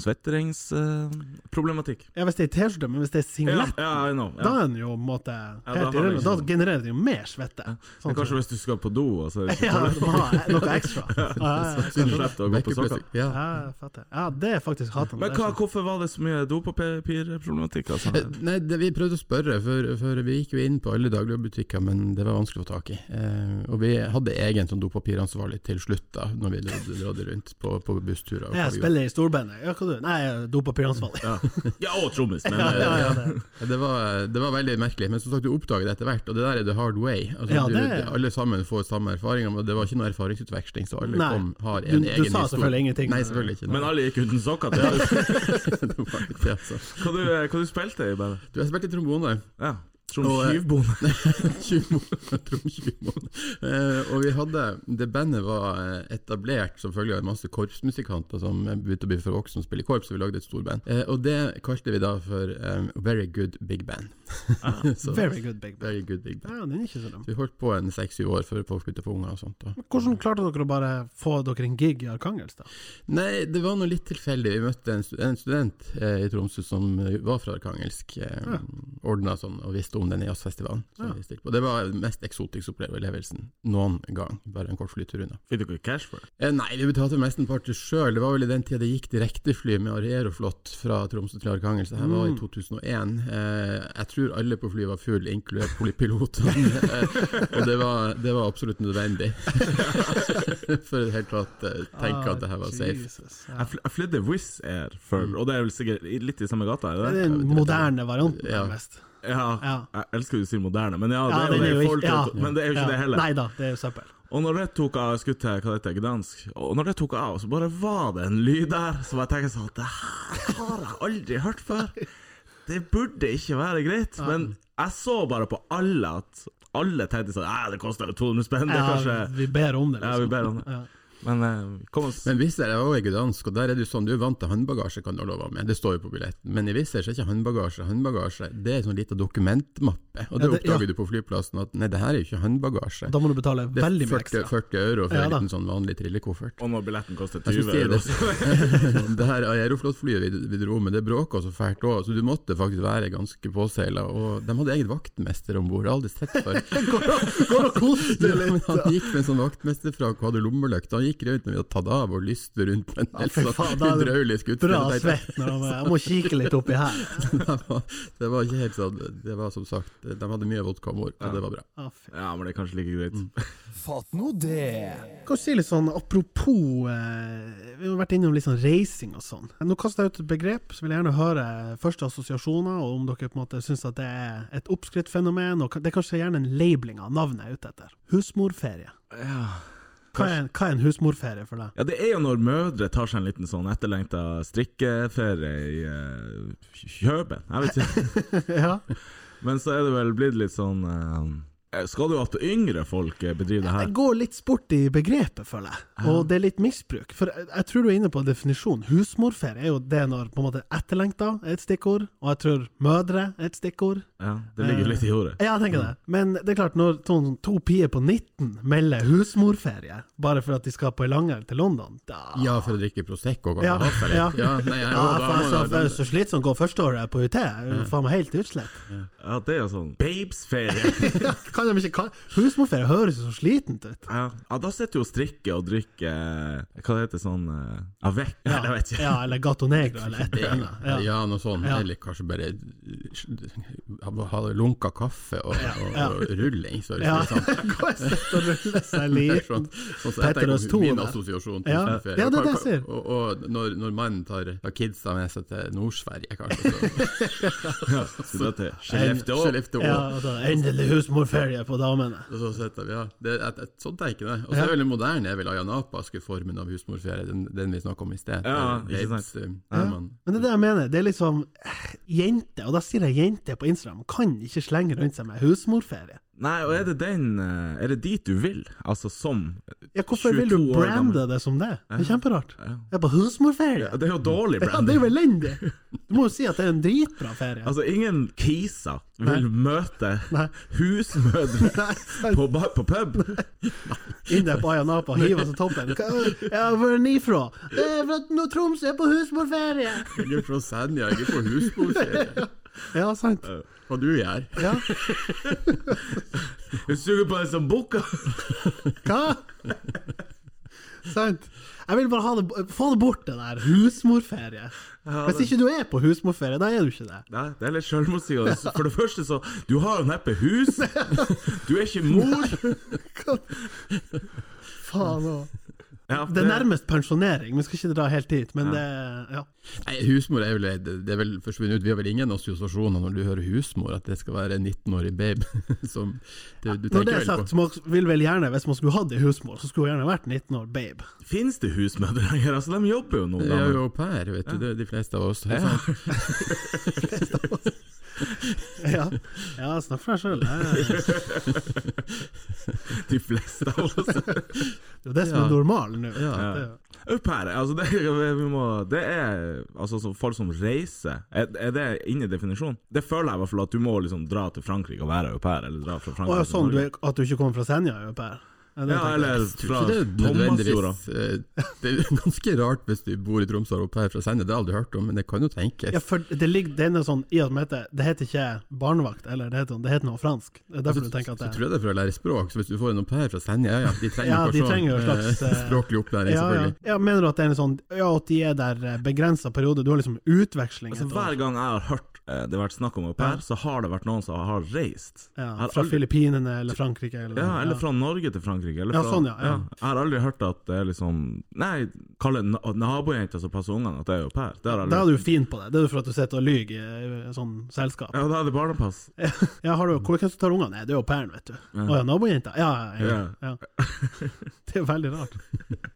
Speaker 1: svetteringsproblematikk?
Speaker 2: Ja, hvis det er T-skjorte, men hvis det er
Speaker 1: ja,
Speaker 2: singlet,
Speaker 1: ja, I know.
Speaker 2: da
Speaker 1: Ja.
Speaker 2: er den jo på en måte
Speaker 1: da
Speaker 2: helt
Speaker 1: har vi
Speaker 2: irrelevant.
Speaker 1: ikke
Speaker 2: Da
Speaker 1: sånn-
Speaker 2: genererer den jo mer svette. Sånn
Speaker 1: Men kanskje hvis du skal på do, og så er det ikke
Speaker 2: ja, du må ha noe ekstra. Ja, ja, ja,
Speaker 1: så slett å gå på sokker.
Speaker 10: Ja.
Speaker 2: ja, jeg fatter. ja, det er faktisk haten.
Speaker 1: Men hva, hvorfor var det så mye dopapirproblematikk? Altså?
Speaker 10: Eh, Nei, det, Vi prøvde å spørre, for, for vi gikk jo inn på alle dagligvarebutikker, men det var vanskelig å få tak i. Eh, og vi hadde egen sånn dopapiranserlig til slutt, da, når vi rådde rundt på, på bussturer. og hva
Speaker 2: Jeg
Speaker 10: vi
Speaker 2: spiller i storbandet. Ja, hva du? Nei, jeg dopa Pyransvall.
Speaker 1: Ja, ja og trommis, men eh,
Speaker 2: Ja, ja, ja, det.
Speaker 10: Ja, Eh, Det var, det var veldig merkelig, men som sagt, du oppdager det etter hvert, og det der er the hard way. Altså,
Speaker 2: Ja,
Speaker 10: du,
Speaker 2: det-
Speaker 10: Alle sammen får samme erfaringer, men det var ikke noe erfaringsutveksling, så alle
Speaker 2: Nei.
Speaker 10: kom, har
Speaker 2: Du-
Speaker 10: en
Speaker 2: du
Speaker 10: egen
Speaker 2: sa selvfølgelig ingenting.
Speaker 10: Nei, selvfølgelig ikke.
Speaker 1: Men alle gikk uten sokker til.
Speaker 10: det var ikke det, altså.
Speaker 1: Hva, du, hva du spilte du i bandet?
Speaker 10: Du, jeg spilte trombone.
Speaker 1: Ja.
Speaker 10: Og, eh,
Speaker 1: Tromskyvbonde.
Speaker 10: Tjuvmåne, tromtjuvmåne. Eh, og vi hadde Det bandet var eh, etablert som følge av en masse korpsmusikanter som begynte å bli for voksne og spille korps, og vi lagde et storband. Eh, og det kalte vi da for eh, Very Good Big Band. så,
Speaker 2: Very good, big band.
Speaker 10: very Good Big Band.
Speaker 2: Ja, den er ikke så dum.
Speaker 10: Så vi holdt på en seks-syv år før folk begynte å få unger og sånt. Da.
Speaker 2: Hvordan klarte dere å bare få dere en gig i Arkangels, da?
Speaker 10: Nei, det var noe litt tilfeldig. Vi møtte en, stu- en student eh, i Tromsø som eh, var fra Arkangelsk. Eh, Ordna sånn og visste om den jazzfestivalen. som vi stilte på. Det var den mest eksotiske opplevelsen noen gang. Bare en kort flytur unna.
Speaker 1: Fikk dere cash for det?
Speaker 10: Eh, nei, vi betalte mesteparten sjøl. Det var vel i den tida det gikk direktefly med Aeroflot fra Tromsø til Arkangel. Så det her var
Speaker 1: Mm.
Speaker 10: i 2001. Eh, jeg tror alle på flyet var full, inkludert poli- pilotene. eh, og det var, det var absolutt nødvendig. For i det hele tatt eh, tenke at det
Speaker 1: Ah,
Speaker 10: her var safe.
Speaker 2: Ah, Jesus, ja.
Speaker 1: Jeg, fly, jeg flydde Wizz Air før, og det er vel sikkert i- litt i samme gata? Er
Speaker 2: Det
Speaker 1: det?
Speaker 2: er
Speaker 1: det?
Speaker 2: den moderne varianten,
Speaker 10: Ja.
Speaker 2: nærmest.
Speaker 1: Ja,
Speaker 2: Ja.
Speaker 1: Jeg elsker jo å si moderne, men ja, det
Speaker 2: Ja,
Speaker 1: er jo
Speaker 2: den
Speaker 1: det
Speaker 2: er jo
Speaker 1: folk
Speaker 2: ikke- ja.
Speaker 1: Men det er jo ikke det heller.
Speaker 2: Nei da, det er jo søppel.
Speaker 1: Og når det tok av skutt til hva det heter, Gdansk, og når det tok av, så bare var det en lyd der som jeg tenker sånn Det her har jeg aldri hørt før. Det burde ikke være greit. Men jeg så bare på alle at alle tenkte sånn Æ, det koster vel 200 spenn, det er kanskje
Speaker 2: Ja, vi ber om det, liksom.
Speaker 1: Ja, vi ber om det.
Speaker 2: Ja.
Speaker 1: Men eh, kom oss
Speaker 10: Men Wizz Air er også i Gdansk, og der er det jo sånn, du er vant til håndbagasje, kan du ha lov av med, det står jo på billetten. Men i Wizz Air så er ikke håndbagasje håndbagasje, det er sånn liten dokumentmappe. Og det,
Speaker 2: Ja, det-
Speaker 10: oppdager
Speaker 2: ja.
Speaker 10: du på flyplassen, at nei, det her er jo ikke håndbagasje.
Speaker 2: Da må du betale
Speaker 10: Det er
Speaker 2: veldig mye
Speaker 10: 40,
Speaker 2: ekstra.
Speaker 10: 40 euro for
Speaker 2: Ja,
Speaker 10: en
Speaker 2: da.
Speaker 10: liten sånn vanlig trillekoffert.
Speaker 1: Og når billetten koster 20
Speaker 10: Jeg synes det er
Speaker 1: euro.
Speaker 10: det. det her Aeroflot-flyet vi, vi dro med, det bråka så fælt òg, så du måtte faktisk være ganske påseila. Og de hadde eget vaktmester om bord, aldri sett før.
Speaker 2: Går og koser
Speaker 10: Ja,
Speaker 2: deg
Speaker 10: men
Speaker 2: litt.
Speaker 10: han gikk med en sånn vaktmesterfrakk og hadde lommelykt. Han gikk rundt når vi hadde tatt av og lyste rundt på en
Speaker 2: Ja,
Speaker 10: del
Speaker 2: fy
Speaker 10: sånn
Speaker 2: faen, da er det
Speaker 10: hydraulisk utstyr.
Speaker 2: Bra
Speaker 10: Jeg tenkte,
Speaker 2: svett når han Jeg må kikke litt oppi her.
Speaker 10: det, var- det var ikke helt sånn. Det var som sagt, de hadde mye vodka om bord, og det var bra.
Speaker 2: Å, fy.
Speaker 1: Ja, men det er kanskje like greit.
Speaker 11: Fatt nå det.
Speaker 2: Kan du si litt sånn, Apropos eh, Vi har vært innom litt sånn reising og sånn. Nå kaster jeg ut et begrep, så vil jeg gjerne høre første assosiasjoner, og om dere på en måte syns at det er et oppskrytt fenomen. Og ka- det er kanskje gjerne en labeling av navnet jeg er ute etter. Husmorferie.
Speaker 1: Ja.
Speaker 2: Hva er, en- hva er en husmorferie for deg?
Speaker 1: Ja, det er jo når mødre tar seg en liten sånn etterlengta strikkeferie i uh, Kjøben. Jeg vet ikke.
Speaker 2: Ja,
Speaker 1: Men så er det vel blitt litt sånn eh, Skal du at yngre folk eh, bedriver det
Speaker 2: Det
Speaker 1: her?
Speaker 2: går litt sport i begrepet, føler jeg. Og det er litt misbruk. For jeg, jeg tror du er inne på definisjonen. Husmorferie er jo det når på en måte etterlengta er et stikkord, og jeg tror mødre er et stikkord.
Speaker 1: Ja, det ligger jo litt i ordet.
Speaker 2: Ja, jeg tenker det. Men det er klart, når to, to pier på 19 melder husmorferie bare for at de skal på en langhelg til London, da
Speaker 10: Ja, for å drikke Prosecco, kan
Speaker 2: Ja,
Speaker 10: man ha seg
Speaker 2: ja.
Speaker 10: litt? Ja, nei, jeg,
Speaker 2: Ja,
Speaker 10: da
Speaker 2: for
Speaker 10: må
Speaker 2: altså,
Speaker 10: man-
Speaker 2: for jeg er så slitsom går første året på UT. Jeg er jo faen meg helt utslett.
Speaker 1: Ja, det er jo sånn babesferie.
Speaker 2: Kan de ikke kalle Husmorferie høres jo så slitent ut.
Speaker 1: Ja, ja da sitter du og strikker og drikker eh, Hva det heter sånn uh, Avec? Ja, jeg vet ikke.
Speaker 2: Ja, eller Gato Negro, eller et eller annet.
Speaker 10: ja.
Speaker 2: Ja.
Speaker 10: noe sånt.
Speaker 2: Ja.
Speaker 10: Eller kanskje bare ha- ha lunka kaffe og, og,
Speaker 2: ja.
Speaker 10: og rulling. Så det
Speaker 2: Ja.
Speaker 10: er sånn.
Speaker 2: Gå og sett og rulle seg
Speaker 10: Sånn,
Speaker 2: liten.
Speaker 10: sånn, så jeg tenker
Speaker 2: Petter Øes
Speaker 10: på min
Speaker 2: Thor der.
Speaker 10: assosiasjon til
Speaker 2: Ja.
Speaker 10: sommerferie.
Speaker 2: Ja, det er det jeg
Speaker 10: Hva-
Speaker 2: ser.
Speaker 10: hva- Og, og når, når mannen tar, tar kidsa med seg til Nord-Sverige, kanskje. Så,
Speaker 1: Så da til Skellefteå.
Speaker 10: Skellefteå.
Speaker 2: Ja, og så endelig husmorferie på damene.
Speaker 10: Og så setter vi, ja. det, et, et, sånn tenker jeg. Og så er det veldig moderne er vel ayanapaske formen av husmorferie, den, den vi snakka om i sted.
Speaker 1: Ja, ikke
Speaker 10: Leits, eh, Herman.
Speaker 2: Men det er det jeg mener. Det er liksom eh, Jenter, og da sier jeg jenter på Instagram, kan ikke slenge rundt seg med husmorferie.
Speaker 1: Nei, og er det den eh, Er det dit du vil? Altså som
Speaker 2: Ja, hvorfor vil du
Speaker 1: 22 år gammel.
Speaker 2: brande det som det? Det er kjemperart.
Speaker 1: Ja.
Speaker 2: Det er på husmorferie.
Speaker 1: Ja, Det er jo dårlig
Speaker 2: Ja, det er
Speaker 1: branding.
Speaker 2: jo elendig! Du må jo si at det er en dritbra ferie.
Speaker 1: Altså, ingen kiser vil møte
Speaker 2: Nei.
Speaker 1: husmødre
Speaker 2: Nei, sant.
Speaker 1: på, ba- på pub.
Speaker 2: Inn der på Aya Napa, hiv oss i toppen. Hva- Ja, hvor er den ifra? Eh, Fra nå Tromsø er på husmorferie!
Speaker 10: Ikke fra Senja, ikke på husmorferie.
Speaker 2: Ja, sant.
Speaker 10: Hva du gjør?
Speaker 2: Ja.
Speaker 1: Du suger på en som bukker.
Speaker 2: Hva? Sant. Jeg vil bare ha det, få det bort, det der. Husmorferie. Hvis ikke du er på husmorferie, da er du ikke det.
Speaker 1: Nei, det er litt selvmotsigende. For det første, så Du har jo neppe hus. Du er ikke mor.
Speaker 2: Faen òg.
Speaker 1: Ja,
Speaker 2: Det er nærmest pensjonering, vi skal ikke dra helt dit, men
Speaker 1: Ja.
Speaker 2: det ja.
Speaker 10: Nei, husmor er vel, det er vel forsvunnet ut. Vi har vel ingen assosiasjoner når du hører husmor, at det skal være en 19-årig babe som det, du
Speaker 2: Når det
Speaker 10: tenker
Speaker 2: er
Speaker 10: vel på.
Speaker 2: sagt, så man vil vel gjerne, hvis man skulle hatt ei husmor, så skulle hun gjerne vært 19 år babe.
Speaker 1: Fins det husmødre lenger? Altså, de jobber jo nå.
Speaker 10: Vi er jo au pair, vet du. Det er de fleste av oss. Det er sant.
Speaker 2: Ja, ja snakk for deg sjøl. Det er
Speaker 1: De fleste av oss.
Speaker 2: det er jo det som
Speaker 10: Ja.
Speaker 2: er normalen nå.
Speaker 10: Ja.
Speaker 2: Det er jo-
Speaker 1: Au pair, altså det, vi må, det er altså, så folk som reiser. Er, er det inne i definisjonen? Det føler jeg i hvert fall at du må liksom dra til Frankrike og være au pair, eller dra fra
Speaker 2: Å
Speaker 1: Frankrike
Speaker 2: ja,
Speaker 1: til
Speaker 2: sånn du
Speaker 1: Norge.
Speaker 2: er, at du ikke kommer fra Senja, er jo Per. Ja, det
Speaker 1: Ja,
Speaker 2: tenker jeg.
Speaker 1: eller
Speaker 10: Jeg tror
Speaker 1: fra
Speaker 10: ikke det er
Speaker 1: Thomasjorda.
Speaker 10: nødvendigvis eh, Det er ganske rart hvis du bor i Tromsø og er au pair fra Senja, det har jeg aldri hørt om, men det kan jo tenkes.
Speaker 2: ja, for det ligger det er noe sånn i at det heter, det heter ikke barnevakt, eller det heter, det heter noe fransk. Det er derfor du tenker at
Speaker 10: Altså, Så
Speaker 2: det
Speaker 10: tror jeg det er for å lære språk, så hvis du får en au pair fra Senja, ja, ja, de trenger
Speaker 2: Ja, de
Speaker 10: kanskje
Speaker 2: trenger jo en
Speaker 10: sånn,
Speaker 2: slags,
Speaker 10: eh,
Speaker 2: eh,
Speaker 10: språklig opplæring,
Speaker 2: ja, ja.
Speaker 10: selvfølgelig.
Speaker 2: ja, mener du at det er en sånn Ja, at de er der begrensa periode? Du har liksom utveksling
Speaker 1: Altså,
Speaker 2: et år.
Speaker 1: hver gang jeg har hørt eh, det har vært snakk om au pair, så har det vært noen som har reist. Jeg
Speaker 2: Ja,
Speaker 1: har
Speaker 2: fra
Speaker 1: aldri-
Speaker 2: Filippinene eller Frankrike eller
Speaker 1: Ja, eller fra Norge til Frankrike. Eller
Speaker 2: Ja,
Speaker 1: fra,
Speaker 2: sånn, ja, ja.
Speaker 1: Jeg har aldri hørt at det er liksom Nei, kalle na nabojenta som passer ungene, at det er au pair. Det har jeg
Speaker 2: Da er
Speaker 1: aldri
Speaker 2: du fin på det. Det er jo for at du sitter og lyver i eh, sånn selskap.
Speaker 1: Ja, da er det barnepass.
Speaker 2: Ja, har du, hvor hvem som tar ungene? Nei, det er jo pæren, vet du. Å ja, nabojenta? Ja, ja, ja. ja. Det er jo veldig rart.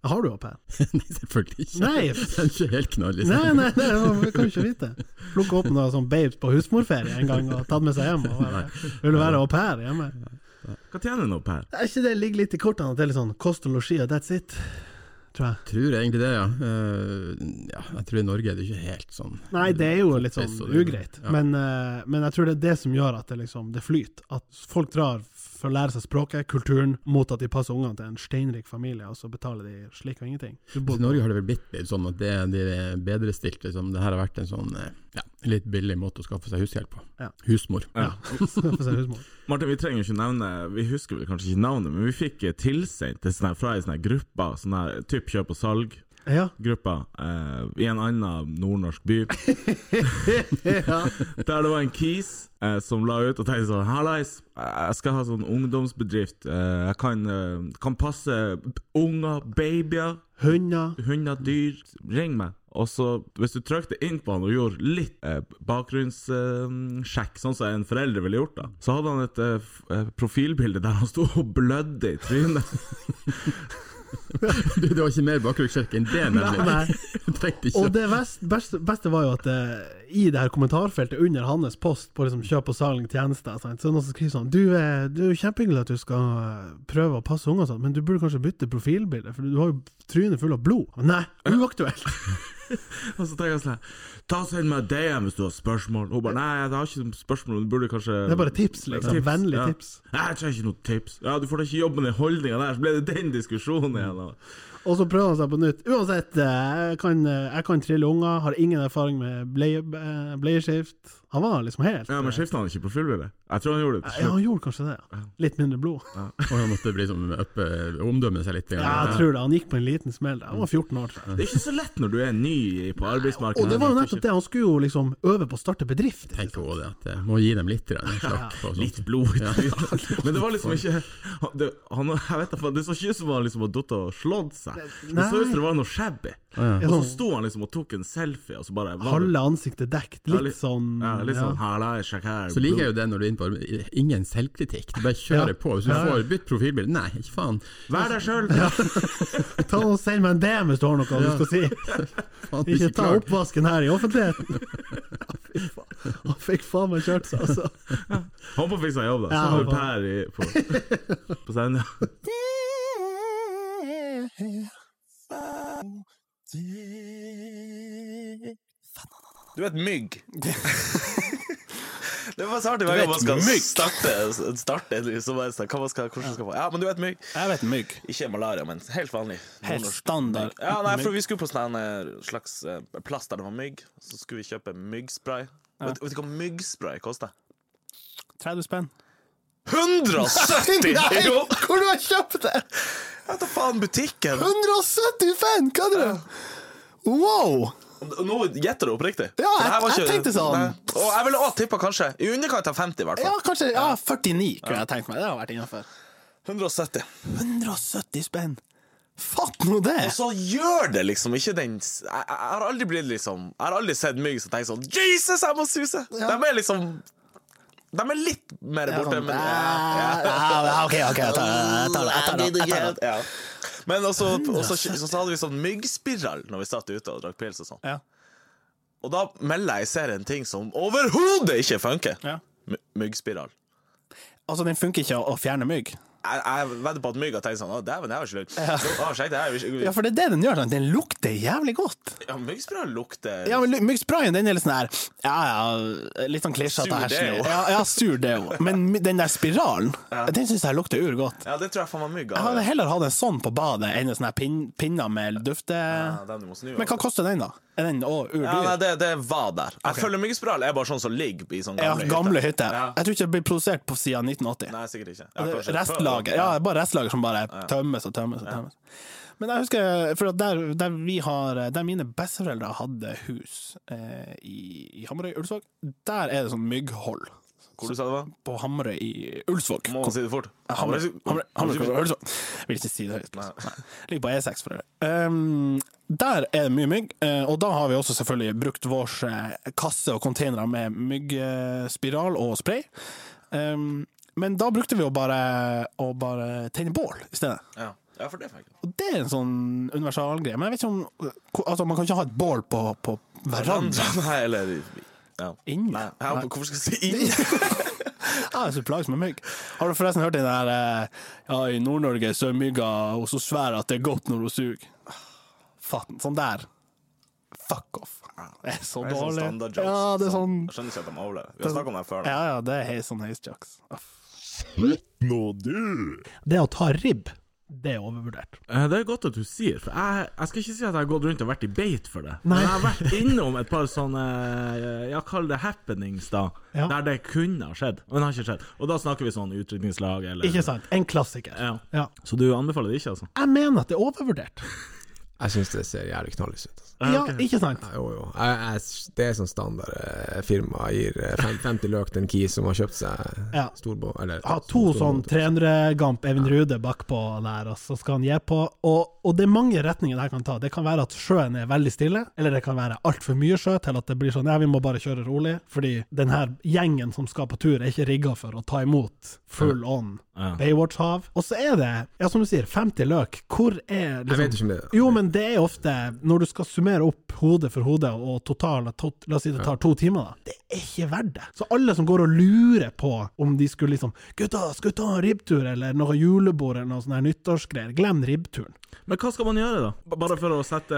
Speaker 2: Har du au pair?
Speaker 10: Nei, selvfølgelig ikke.
Speaker 2: Nei.
Speaker 10: Det er ikke helt knall, liksom.
Speaker 2: Nei, nei, nei, vi kan jo ikke vite. Plukke opp noen sånn babes på husmorferie en gang og tatt med seg hjem. Og være, vil være au pair hjemme.
Speaker 1: Hva tjener en au pair?
Speaker 2: Er ikke det ligger litt i kortene at det er litt sånn kost og losji og that's it? Tror jeg.
Speaker 10: Tror jeg egentlig det, ja. Eh, ja. Jeg tror i Norge er det ikke helt sånn.
Speaker 2: Nei, det er jo litt sånn
Speaker 10: Kompis og det-
Speaker 2: ugreit,
Speaker 10: ja.
Speaker 2: men, eh, men jeg tror det er det som gjør at det liksom det flyter. At folk drar for å lære seg språket, kulturen, mot at de passer ungene til en steinrik familie, og så betaler de slik og ingenting. Du bor
Speaker 10: I Norge har det vel blitt litt sånn at det er de bedrestilte som det her har vært en sånn eh, ja, litt billig måte å skaffe seg hushjelp på.
Speaker 2: Ja.
Speaker 10: Husmor.
Speaker 2: ja. for seg husmor.
Speaker 1: Martin, vi trenger jo ikke nevne Vi husker vel kanskje ikke navnet, men vi fikk eh, tilsendt det sånn her fra ei sånn her gruppe, sånn her typ kjøp og salg.
Speaker 2: Ja.
Speaker 1: Gruppa eh, i en annen nordnorsk by,
Speaker 2: ja.
Speaker 1: der det var en kis eh, som la ut og tenkte sånn Hallais, jeg skal ha sånn ungdomsbedrift. Eh, jeg kan, eh, kan passe unger, babyer,
Speaker 2: Hunder.
Speaker 1: hunder, dyr. Ring meg. Og så, hvis du trykte inn på han og gjorde litt eh, bakgrunnssjekk, sånn som en forelder ville gjort, da, så hadde han et eh, f- eh, profilbilde der han sto og blødde i trynet.
Speaker 10: Du, det var ikke mer bakgrunnssjekk enn det, nemlig.
Speaker 2: Nei.
Speaker 10: Du trengte ikke
Speaker 2: Og det vest, beste, beste var jo at eh, i det her kommentarfeltet under hans post på liksom kjøp og salg tjenester, sant, så er det noen som skriver sånn Du eh, det er jo kjempehyggelig at du skal eh, prøve å passe unger, og sånn, men du burde kanskje bytte profilbilde, for du har jo trynet fullt av blod. Nei, uaktuelt!
Speaker 1: Og så tenker jeg sånn her, Ta og Send meg DM hvis du har spørsmål. Hun bare Nei, jeg har ikke noe spørsmål. Du burde kanskje
Speaker 2: Det er bare tips, liksom. Vennlig
Speaker 1: ja.
Speaker 2: tips.
Speaker 1: Nei, Jeg trenger ikke noe tips. Ja, Du får da ikke jobbe med den holdninga der, så ble det den diskusjonen igjen. da.
Speaker 2: Og så prøver han seg på nytt. Uansett, eh, jeg kan, eh, jeg kan trille unger, har ingen erfaring med bleie, eh, bleieskift. Han var liksom helt
Speaker 1: Ja, Men skifta han ikke profilbilde? Jeg tror han gjorde det til
Speaker 2: ja,
Speaker 1: slutt.
Speaker 2: han gjorde kanskje det. Litt mindre blod.
Speaker 10: Og han måtte bli som oppe, omdømme seg litt.
Speaker 2: Ja, jeg tror det. Han gikk på en liten smell. der. Han var 14 år. tror jeg.
Speaker 1: Det er ikke så lett når du er ny i- på arbeidsmarkedet.
Speaker 2: Og det var jo
Speaker 1: At du
Speaker 2: nettopp
Speaker 1: ikke-
Speaker 2: det, han skulle jo liksom øve på å starte liksom. bedrift.
Speaker 10: Jeg tenker også det, at jeg må gi dem litt grann, slakk på. og sånt.
Speaker 1: Litt blod i trynet. Men det var liksom ikke han, det, han, jeg vet, da faen, det så ikke ut som han liksom hadde datt og slått seg. Det så ut som det var noe shabby. Og så sto han liksom og tok en selfie, og så bare var det-
Speaker 2: Halve ansiktet dekt,
Speaker 1: Ja,
Speaker 2: litt sånn
Speaker 1: ja, litt sånn
Speaker 2: ja.
Speaker 1: Halla, sjekk her.
Speaker 10: Så liker jeg jo det når du er inne på arbeid. Ingen selvkritikk, du bare kjører
Speaker 2: Ja.
Speaker 10: på. Hvis du
Speaker 2: Ja, ja.
Speaker 10: får bytt profilbilde, nei, ikke faen.
Speaker 1: Vær deg sjøl!
Speaker 2: Ta og Send meg en DM hvis du har noe du skal si!
Speaker 10: faen du er
Speaker 2: Ikke ta
Speaker 10: klar.
Speaker 2: oppvasken her i offentligheten! Ja, Fy faen. Han fikk faen meg kjørt seg, altså.
Speaker 1: Han får fiksa jobb, da. Så
Speaker 2: Ja,
Speaker 1: har
Speaker 2: han
Speaker 1: du
Speaker 2: får-
Speaker 1: Per i, på, på scenen.
Speaker 3: Du er et mygg. Det var så artig hver gang
Speaker 5: Du er
Speaker 3: man
Speaker 5: et
Speaker 3: skal
Speaker 5: mygg.
Speaker 3: starte, starte så bare sånn, hva man skal, hvordan skal man Ja, men du er et mygg.
Speaker 5: Jeg vet mygg.
Speaker 3: Ikke malaria, men helt vanlig.
Speaker 5: Helt
Speaker 3: nordnorsk
Speaker 5: standard
Speaker 3: mygg. Ja, nei, for
Speaker 5: mygg.
Speaker 3: Vi skulle på sånn en slags eh, plass der det var mygg. Så skulle vi kjøpe myggspray. Vet, vet du hva myggspray koster?
Speaker 5: 30 spenn.
Speaker 3: 170!
Speaker 4: Nei,
Speaker 3: Jo!
Speaker 4: hvor du har kjøpt det?
Speaker 3: Hva da faen, butikken?
Speaker 4: 175, hva er det? Wow!
Speaker 3: Nå gjetter du oppriktig.
Speaker 4: Ja,
Speaker 3: For det her var
Speaker 4: jeg- jeg tenkte sånn.
Speaker 3: Nei. Og jeg ville også tippa kanskje i underkant av 50, i hvert
Speaker 4: Ja,
Speaker 3: fall.
Speaker 4: kanskje
Speaker 5: Ja, 49 kunne jeg tenkt meg. Det har vært innafor.
Speaker 3: 170.
Speaker 5: 170 spenn Fatt nå det!
Speaker 3: Og så gjør det liksom ikke den s- Jeg, jeg jeg har aldri blitt liksom Jeg har aldri sett mygg som tenker sånn Jesus, jeg må suse! De er liksom De er litt mer borte, men
Speaker 5: sånn, Ja, OK, OK, jeg tar det. Jeg tar det. Jeg tar det. Jeg tar det.
Speaker 3: Ja. Men også, også, så hadde vi sånn myggspiral når vi satt ute og drakk pils og sånn.
Speaker 5: Ja.
Speaker 3: Og da melder jeg i serien ting som overhodet ikke funker.
Speaker 5: Ja.
Speaker 3: My- Myggspiral.
Speaker 5: Altså, den funker ikke å- å fjerne mygg.
Speaker 3: Jeg, jeg vedder på at mygg har tenkt sånn Å, dæven, det her var ikke lurt. Så, «Å, sjekk, det her er ikke-
Speaker 5: Ja, for det er det den gjør. Sant? Den lukter jævlig godt.
Speaker 3: Ja, myggspiral lukter
Speaker 5: Ja, men lu- Myggsprayen den er litt sånn her Ja, ja, litt sånn klisjete
Speaker 3: Sur
Speaker 5: her.
Speaker 3: deo.
Speaker 5: Ja, ja, sur deo. Men my- den der spiralen, den syns jeg lukter urgodt.
Speaker 3: Ja, det tror jeg faen meg mygg
Speaker 5: Jeg
Speaker 3: har.
Speaker 5: hadde heller hatt en sånn på badet enn en sånn her pin, pinne med dufte...
Speaker 3: Ja, den du må snu.
Speaker 5: Men hva koster den, da? Er den òg urdyr?
Speaker 3: Ja, nei, det, det var der. Jeg føler myggspiral er bare sånn som ligger i sånn
Speaker 5: Ja,
Speaker 3: gamle,
Speaker 5: gamle
Speaker 3: hytter.
Speaker 5: hytter.
Speaker 3: Ja.
Speaker 5: Jeg tror ikke det blir produsert på siden 1980.
Speaker 3: Nei, sikkert ikke. Ja,
Speaker 5: Det
Speaker 3: kanskje
Speaker 5: er
Speaker 3: før.
Speaker 5: Restlager. Ja, det er bare restlager som bare tømmes og tømmes. og tømmes. Men jeg husker, for at der, der, vi har, der mine besteforeldre hadde hus eh, i, i Hamarøy, Ulvsvåg, der er det sånn mygghold
Speaker 3: Hvor du sa det var?
Speaker 5: på Hamarøy i Ulvsvåg.
Speaker 3: Må si det fort.
Speaker 5: Hamarøy, Hamarøy, Hamarøy, Hamarøy, Ulvsvåg. Vil ikke si det høyt. Nei. Ligger på E6 for det. Um, der er det mye mygg, eh, og da har vi også selvfølgelig brukt vår eh, kasse og containere med myggspiral og spray. Um, men da brukte vi å bare, å bare tenne bål i stedet.
Speaker 3: Ja. ja, for det fikk jeg.
Speaker 5: Og det er en sånn universal greie. Men jeg vet ikke om hvor- altså, Man kan ikke ha et bål på, på verandaen
Speaker 3: Nei, eller ja.
Speaker 5: inne.
Speaker 3: Nei,
Speaker 5: Nei,
Speaker 3: jeg, håper- hvorfor skal jeg si inn?
Speaker 5: Ah, jeg er så plages med mygg. Har du forresten hørt den der eh, Ja, i Nord-Norge så er mygga og så svær at det er godt når hun suger. Fatten. Sånn der. Fuck off. Det er så
Speaker 3: Det er sånn
Speaker 5: dårlig.
Speaker 3: standard jokes.
Speaker 5: ja, det er sånn
Speaker 3: Jeg skjønner ikke at de overlever. Vi har snakket om det før. Da.
Speaker 5: Ja, ja, det er hei, sånn heisjokes.
Speaker 2: Det å ta ribb, det er overvurdert.
Speaker 1: Eh, Det er godt at du sier, for jeg, jeg skal ikke si at jeg har gått rundt og vært i beit for det. Men jeg har vært innom et par sånne, eh, ja, kall det happenings, da.
Speaker 2: Ja.
Speaker 1: Der det kunne ha skjedd, men det har ikke skjedd. Og da snakker vi sånn utrydningslag eller
Speaker 2: Ikke sant? En klassiker.
Speaker 1: Ja.
Speaker 2: Ja.
Speaker 1: Så du anbefaler det ikke, altså?
Speaker 2: Jeg mener at det er overvurdert.
Speaker 10: Jeg syns det ser jævlig knallis ut. Altså.
Speaker 2: Ja, ikke sant?
Speaker 10: Ja, Jo, jo. Jeg, jeg, det er sånn standard eh, firma gir eh, fem- 50 løk til en kis som har kjøpt seg
Speaker 2: Ja.
Speaker 10: storbo... Eller
Speaker 2: Ha to sånn 300 Gamp Even Rude bakpå der, og så skal han gi på. Og, og det er mange retninger det her kan ta. Det kan være at sjøen er veldig stille, eller det kan være altfor mye sjø til at det blir sånn ja, vi må bare kjøre rolig, fordi den her gjengen som skal på tur, er ikke rigga for å ta imot full on
Speaker 1: Ja.
Speaker 2: Baywatch-hav. Og så er det, ja som du sier, 50 løk. Hvor er liksom
Speaker 10: Jeg vet ikke om det er
Speaker 2: Jo, men det er ofte, når du skal summere opp hode for hode, og total, to, la oss si det tar to timer, da, det er ikke verdt det. Så alle som går og lurer på om de skulle liksom Gutta, skal vi ta en ribbtur, eller noe julebord, eller noe sånn her nyttårsgreier? Glem ribbturen.
Speaker 1: Men hva skal man gjøre, da? B- Bare for å sette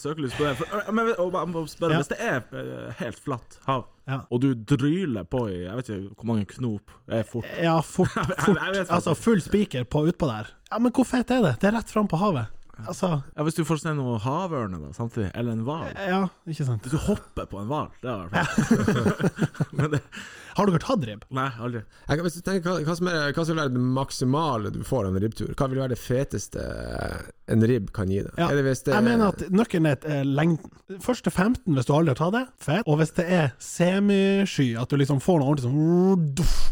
Speaker 1: søkelys på det. For, øh, men, og, bare- bare spørre,
Speaker 2: Ja.
Speaker 1: Hvis det er øh, helt flatt hav,
Speaker 2: Ja.
Speaker 1: og du dryler på i jeg vet ikke hvor mange knop det er fort
Speaker 2: Ja, fort, fort.
Speaker 1: jeg vet faktisk.
Speaker 2: Altså, full spiker på utpå der. Ja, men hvor fett er det? Det er rett fram på havet. Altså,
Speaker 1: ja, Hvis du får se noe havørne da, samtidig, eller en hval
Speaker 2: ja, ikke sant.
Speaker 1: Hvis du hopper på en hval, det har jeg i hvert fall Men det
Speaker 2: Har dere tatt ribb?
Speaker 1: Nei, aldri.
Speaker 10: Jeg kan hvis du tenker, hva, hva, som er, hva som vil være det maksimale du får av en ribbtur? Hva vil være det feteste eh, en ribb kan gi deg?
Speaker 2: Ja.
Speaker 10: Er det hvis det
Speaker 2: Jeg mener at nøkkelen er eh, lengden. Første 15, hvis du aldri har tatt det, fett. Og hvis det er semisky, at du liksom får noe ordentlig sånn duff,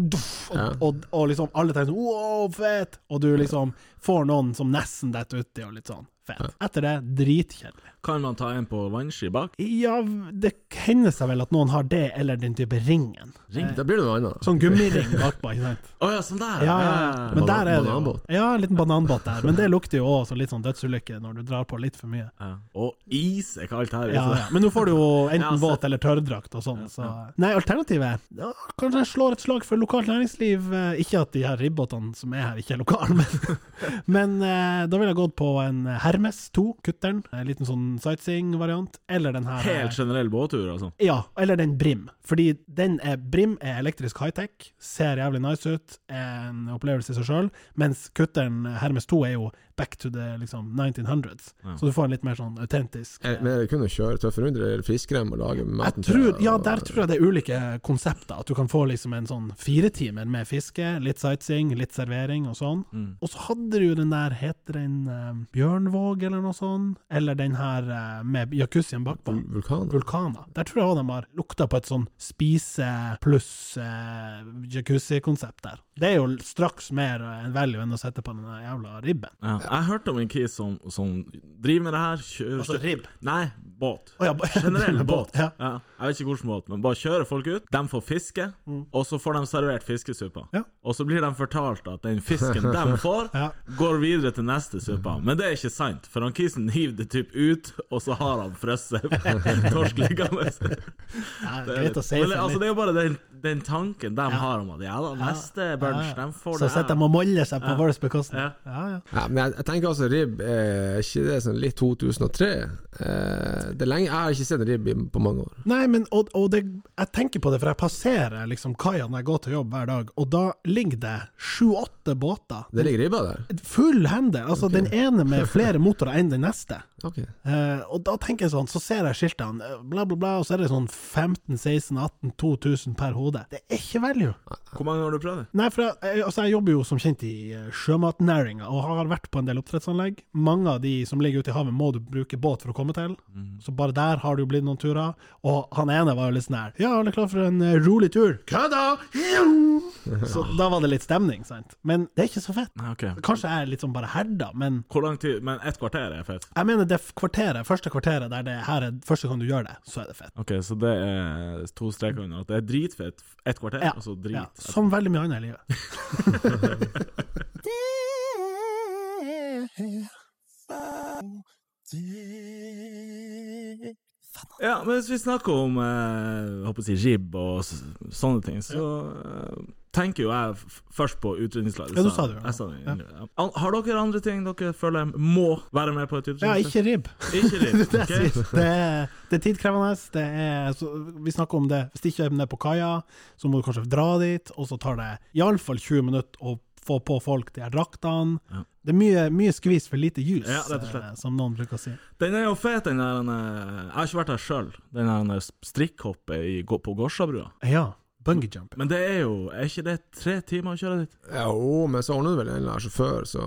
Speaker 2: duff, og,
Speaker 10: Ja.
Speaker 2: og, og liksom alle tenker sånn wow, fett! Og du liksom får noen som nesten detter uti, og litt sånn fett. Etter det, dritkjedelig.
Speaker 1: Kan man ta en på vannski bak?
Speaker 2: Ja, det hender seg vel at noen har det, eller den type ringen.
Speaker 10: Da blir det noe annet.
Speaker 2: Sånn gummiring bakpå, ikke sant.
Speaker 1: Å ja, sånn der!
Speaker 2: Ja, ja. Men
Speaker 10: Banan-
Speaker 2: der er det jo
Speaker 10: bananbåt.
Speaker 2: Ja, en liten bananbåt der. Men det lukter jo også litt sånn dødsulykke når du drar på litt for mye.
Speaker 1: ja. Og is er ikke alt her.
Speaker 2: Ja,
Speaker 1: vet
Speaker 2: ja. Men nå får du jo
Speaker 1: Ja,
Speaker 2: enten
Speaker 1: så-
Speaker 2: våt eller tørrdrakt og sånn. Så. Nei, alternativet ja, Kanskje jeg slår et slag for lokalt næringsliv. eh, Ikke at de her ribbåtene som er her, ikke er lokale, men, men eh, da ville jeg gått på en Hermes 2, kutteren. En liten sånn sightseeing-variant. Eller den
Speaker 1: du.
Speaker 2: her eh,
Speaker 1: Helt generell båttur, altså.
Speaker 2: ja, eller den Brim. Fordi den er, Brim er elektrisk high-tech, ser jævlig nice ut, er en opplevelse i seg sjøl, mens kutteren Hermes 2 er jo back to the liksom, 1900s. Så du får en litt mer sånn autentisk
Speaker 1: Eh,
Speaker 10: Er, Eh, men er det kun å kjøre tøffe runder, eller fiskrem og lage maten
Speaker 2: jeg tror, ja, der tror jeg det er ulike konsepter. At du kan få liksom en sånn firetimer med fiske, litt sightseeing, litt servering og sånn.
Speaker 1: Mm.
Speaker 2: Og så hadde du jo den der, heter den eh, Bjørnvåg eller noe sånt? Eller den her eh, med jacuzzien bakpå.
Speaker 1: Mm.
Speaker 10: Vulkaner.
Speaker 2: Vulkaner. Der tror jeg også de har lukta på et sånn spise pluss eh, jacuzzi-konsept der. Det er jo straks mer eh, en value enn å sette på den jævla ribben.
Speaker 1: Ja. Jeg hørte om en kis som, som driver med det her. Kjører,
Speaker 5: Altså ribb?
Speaker 1: Nei, båt.
Speaker 2: Å ja, ba-
Speaker 1: Generell båt.
Speaker 2: Ja.
Speaker 1: Jeg vet ikke hvilken båt, men bare kjører folk ut. De får fiske, og så får de servert fiskesuppa.
Speaker 2: Mm. Ja.
Speaker 1: Og så blir de fortalt at den fisken de får,
Speaker 2: Ja.
Speaker 1: går videre til neste suppa. Men det er ikke sant, for han kisen hiver det typ ut, og så har han frosset torsk liggende.
Speaker 2: Ja,
Speaker 1: Det er
Speaker 2: greit å si
Speaker 1: Men, altså, det
Speaker 2: seg litt.
Speaker 1: er jo bare den, den tanken de har om at ja da, neste bunch, de får
Speaker 2: Så
Speaker 1: det
Speaker 2: sitter de og moller seg på vår bekostning. Ja, ja.
Speaker 10: Ja, men jeg, jeg tenker altså ribb Er ikke det sånn litt 2003? Eh, det er lenge, Jeg har ikke sett en ribb i, på mange år.
Speaker 2: Nei, men og, og det, jeg tenker på det, for jeg passerer liksom kaia når jeg går til jobb hver dag, og da ligger det sju-åtte båter.
Speaker 10: Det ligger ribba der?
Speaker 2: Full handel! Altså den ene med flere motorer enn den neste.
Speaker 10: Ok.
Speaker 2: Eh, og da tenker jeg sånn, så ser jeg skiltene, eh, bla, bla, bla, og så er det sånn 15 16 18 2000 per hode. Det er ikke value.
Speaker 1: Hvor mange har du prøvd det?
Speaker 2: Nei, for jeg, jeg- altså, jeg jobber jo som kjent i eh, sjømatnæringa, og har vært på en del oppdrettsanlegg. Mange av de som ligger ute i havet, må du bruke båt for å komme til. Så bare der har det jo blitt noen turer. Og han ene var jo litt sånn her Ja, alle klar for en eh, rolig tur? Kødda! Så da var det litt stemning, sant. Men det er ikke så fett.
Speaker 1: Nei, ok.
Speaker 2: Kanskje jeg er litt sånn bare herda, men
Speaker 1: Hvor lang tid? Men ett kvarter er fett.
Speaker 2: jeg mener det kvarteret, første kvarteret der det her er første gang du gjør det, så er det fett.
Speaker 1: Ok, så det er to streker under. At det er dritfett ett kvarter,
Speaker 2: Ja,
Speaker 1: og så drit.
Speaker 2: ja, som veldig mye annet i livet.
Speaker 1: Ja, men hvis vi snakker om eh, håper jeg å si ribb og s sånne ting, så eh, tenker jo jeg f først på utrydningslag.
Speaker 2: Ja, du sa det jo.
Speaker 1: Jeg sa det. Ja. An- Har dere andre ting dere føler må være med på et
Speaker 2: Ja,
Speaker 1: utrydningslag?
Speaker 2: ikke ribb.
Speaker 1: Ikke ribb.
Speaker 2: Det,
Speaker 1: ok?
Speaker 2: er- det, er- det er tidkrevende. Det er, så, vi snakker om det. Hvis det ikke er nede på kaia, så må du kanskje dra dit, og så tar det iallfall 20 minutter å få på folk de her draktene.
Speaker 1: Ja.
Speaker 2: Det er mye, mye skvis for lite juice,
Speaker 1: Ja, rett og slett.
Speaker 2: eh, som noen bruker å si.
Speaker 1: Den er jo fet, den der eh, Jeg har ikke vært der sjøl, den der strikkhoppet i, gå- på Gårdstadbrua.
Speaker 2: Ja, bungee jump.
Speaker 1: Men det er jo Er ikke det tre timer å kjøre dit?
Speaker 10: Ja, Jo, men så ordner du vel en eller annen sjåfør, så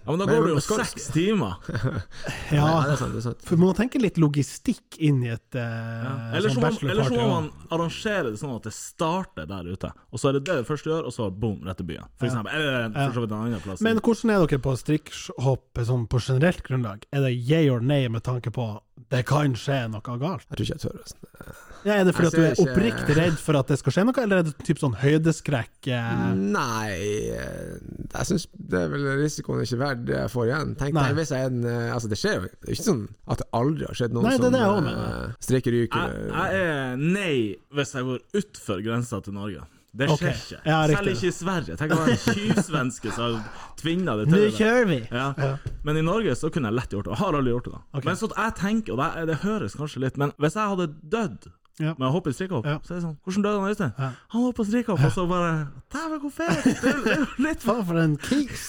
Speaker 1: Ja, men da
Speaker 10: Men-
Speaker 1: går det jo
Speaker 10: men skal du-
Speaker 1: seks timer!
Speaker 10: Nei, det
Speaker 2: Ja,
Speaker 10: er sant. Det er sant.
Speaker 2: for man må tenke litt logistikk inn i et eh,
Speaker 1: Ja. Eller
Speaker 2: sånn
Speaker 1: så, må, eller så må
Speaker 2: bachelorparty, ja.
Speaker 1: man arrangere det sånn at det starter der ute, og så er det det det første du gjør, og så boom, rett til byen. For eksempel, eller eh, for så vidt en annen plass.
Speaker 2: Men hvordan er dere på strikkhopp sånn på generelt grunnlag? Er det yeah or nay med tanke på det kan skje noe galt?
Speaker 10: Jeg tror ikke jeg tør. altså.
Speaker 2: Ja, er det fordi
Speaker 1: Altså,
Speaker 2: at
Speaker 10: Jeg
Speaker 2: du er
Speaker 10: ser ikke-
Speaker 2: oppriktig redd for at det skal skje noe, eller er det typ sånn høydeskrekk? eh?
Speaker 1: Mm.
Speaker 10: Nei, eh, jeg syns det er vel risikoen ikke verdt det jeg får igjen. Tenk
Speaker 2: Nei.
Speaker 10: deg hvis jeg er en eh, Altså, det skjer jo det er jo ikke sånn at det aldri har skjedd noen
Speaker 2: Nei, det er
Speaker 10: som
Speaker 2: det jeg også
Speaker 10: eh,
Speaker 2: mener.
Speaker 10: streker ryk
Speaker 1: jeg,
Speaker 10: eller
Speaker 1: jeg er nei hvis jeg går utfor grensa til Norge. Det
Speaker 2: Ok.
Speaker 1: skjer ikke.
Speaker 2: Ja, riktig.
Speaker 1: Selv ikke i Sverige. Tenk å være en tyvsvenske som tvinner det
Speaker 2: Nå
Speaker 1: til. det.
Speaker 2: kjører vi!
Speaker 1: Ja. Men i Norge så kunne jeg lett gjort det, og har aldri gjort det. da Men så at jeg tenker, og det, det høres kanskje litt Men hvis jeg hadde dødd
Speaker 2: Ja.
Speaker 1: med å hoppe i strikkhopp,
Speaker 2: Ja.
Speaker 1: så er det sånn Hvordan døde han Øystein?
Speaker 2: Ja.
Speaker 1: Han hoppa strikkhopp, og så bare Dæven, hvor fet! Det er jo- det er jo litt
Speaker 2: Faen, for en kis!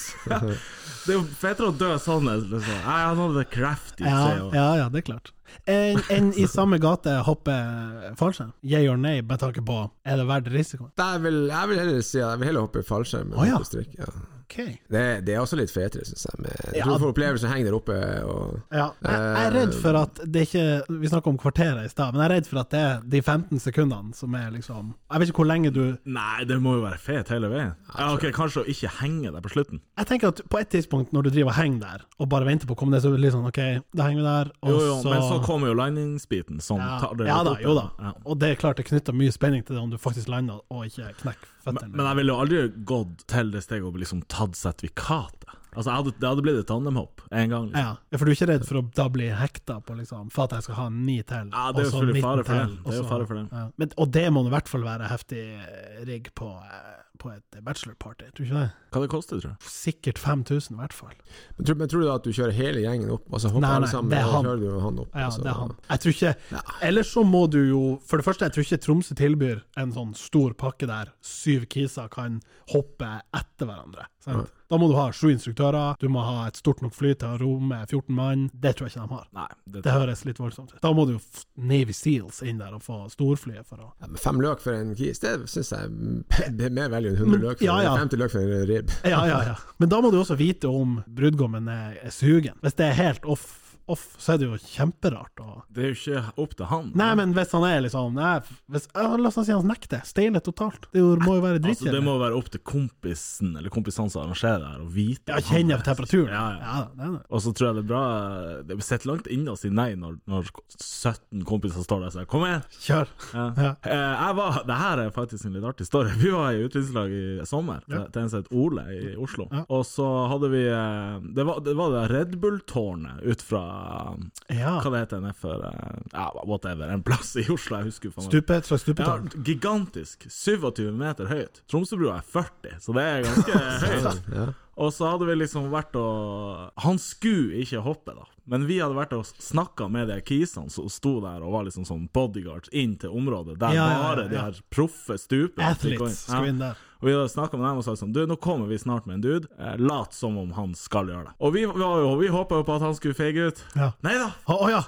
Speaker 1: Det er jo fetere å dø sånn enn liksom. Nei, han hadde det kraftig.
Speaker 2: Ja,
Speaker 1: sier jeg jo.
Speaker 2: ja, ja, det er klart. Enn en i samme gate hopper fallskjerm? Yeah or nay med tanke på er det verdt risikoen?
Speaker 10: jeg vil, jeg vil heller si at jeg vil heller hoppe i fallskjerm. enn
Speaker 2: Å, ja.
Speaker 10: hoppe i strikk, ja.
Speaker 2: Ok.
Speaker 10: det, det er også litt fetere, syns jeg. Med, jeg
Speaker 2: Ja.
Speaker 10: tror du får opplevelsen av å henge der oppe. Og,
Speaker 2: Ja, jeg, jeg er
Speaker 1: eh,
Speaker 2: redd for at det ikke Vi snakka om kvarteret i stad, men jeg er redd for at det er de 15 sekundene som er liksom Jeg vet ikke hvor lenge du
Speaker 1: Nei, det må jo være fet hele veien. Ja, ok, Kanskje å ikke henge deg på slutten.
Speaker 2: Jeg tenker at på et tidspunkt når du driver og henger der, og bare venter på å komme ned, så er det litt sånn OK, da henger vi der, og
Speaker 1: Jo, jo,
Speaker 2: så
Speaker 1: Men så kommer jo landingsbiten som
Speaker 2: ja,
Speaker 1: tar det
Speaker 2: ja
Speaker 1: litt
Speaker 2: da,
Speaker 1: opp
Speaker 2: jo da.
Speaker 1: igjen. Ja.
Speaker 2: Og det er klart det knytter mye spenning til det om du faktisk lander og ikke knekker
Speaker 1: Men,
Speaker 2: føttene.
Speaker 1: men jeg ville jo aldri gått til det steget og liksom tatt sertifikatet. Altså, jeg hadde, Det hadde blitt et tandemhopp en gang. Liksom.
Speaker 2: ja, ja, for du er ikke redd for å da bli hekta på liksom, for at jeg skal ha ni til?
Speaker 1: Ja, det er jo
Speaker 2: og så
Speaker 1: selvfølgelig
Speaker 2: 19
Speaker 1: fare for det. Det
Speaker 2: til,
Speaker 1: er jo
Speaker 2: og så-
Speaker 1: fare for det.
Speaker 2: Ja. Men, og det må i hvert fall være heftig eh, rigg på, eh, på et bachelorparty, tror du ikke det?
Speaker 1: Hva det koster, tror jeg.
Speaker 2: Sikkert 5000 i hvert fall.
Speaker 10: Eh, men, tror, men tror du da at du kjører hele gjengen opp? Altså hopper
Speaker 2: Nei, nei,
Speaker 10: alle sammen,
Speaker 2: det er
Speaker 10: og
Speaker 2: han.
Speaker 10: så kjører du han opp?
Speaker 2: Ja,
Speaker 10: altså.
Speaker 2: det er han. Jeg tror ikke Ellers så må du jo For det første, jeg tror ikke Tromsø tilbyr en sånn stor pakke der syv kiser kan hoppe etter hverandre. Sant? Da må du ha sju instruktører, du må ha et stort nok fly til å romme 14 mann. Det tror jeg ikke de har.
Speaker 1: Nei, det,
Speaker 2: Det høres litt voldsomt ut. Da må du jo f- Navy Seals inn der og få storflyet for å
Speaker 10: Ja, men fem løk for en kis, det syns jeg det er mer veldig enn 100 løk for,
Speaker 2: Ja, ja.
Speaker 10: 50 løk for en ribb.
Speaker 2: Ja, ja, ja. Men da må du også vite om brudgommen er, er sugen. Hvis det er helt off off, så er det jo kjemperart å
Speaker 1: Det er jo ikke opp til han.
Speaker 2: Nei, men hvis han er liksom nei, hvis, ja, La oss si han nekter. Steile totalt. Det er jo- må jo være
Speaker 1: Altså, det
Speaker 2: dritkjedelig.
Speaker 1: må være opp til kompisen eller kompisene som arrangerer det her, å vite
Speaker 2: ja, kjenner jeg på temperaturen.
Speaker 1: Ja, ja.
Speaker 2: Ja, det er det.
Speaker 1: Og så tror jeg det er bra Det sitter langt inne å si nei når, når 17 kompiser står der og sier 'kom igjen'.
Speaker 2: Kjør.
Speaker 1: Ja.
Speaker 2: Ja.
Speaker 1: Eh, Jeg var, det her er faktisk en litt artig story. Vi var i utviklingslag i sommer, til- til en som het Ole i Oslo.
Speaker 2: Ja.
Speaker 1: Og så hadde vi eh, Det var det, var det Red Bull-tårnet ut fra
Speaker 2: Ja.
Speaker 1: Hva det heter det nedfor eh, Ja, whatever. En plass i Oslo, jeg husker faen meg.
Speaker 2: Stupe, et slags
Speaker 1: Ja,
Speaker 2: stupetårn.
Speaker 1: gigantisk. 27 meter høyt. Tromsøbrua er 40, så det er ganske høyt.
Speaker 10: Ja.
Speaker 1: Og så hadde vi liksom vært og Han skulle ikke hoppe, da. Men vi hadde vært og snakka med de kisene som sto der og var liksom sånn bodyguards inn til området, der
Speaker 2: Ja, ja, ja,
Speaker 1: bare de
Speaker 2: ja.
Speaker 1: her proffe stuper.
Speaker 2: Athletes skal inn der.
Speaker 1: Og vi hadde snakka med dem og sa sånn Du, nå kommer vi snart med en dude. Eh, lat som om han skal gjøre det. Og vi, var jo- vi håpa jo på at han skulle feige ut.
Speaker 2: Ja.
Speaker 1: Nei da,
Speaker 2: Å å ja!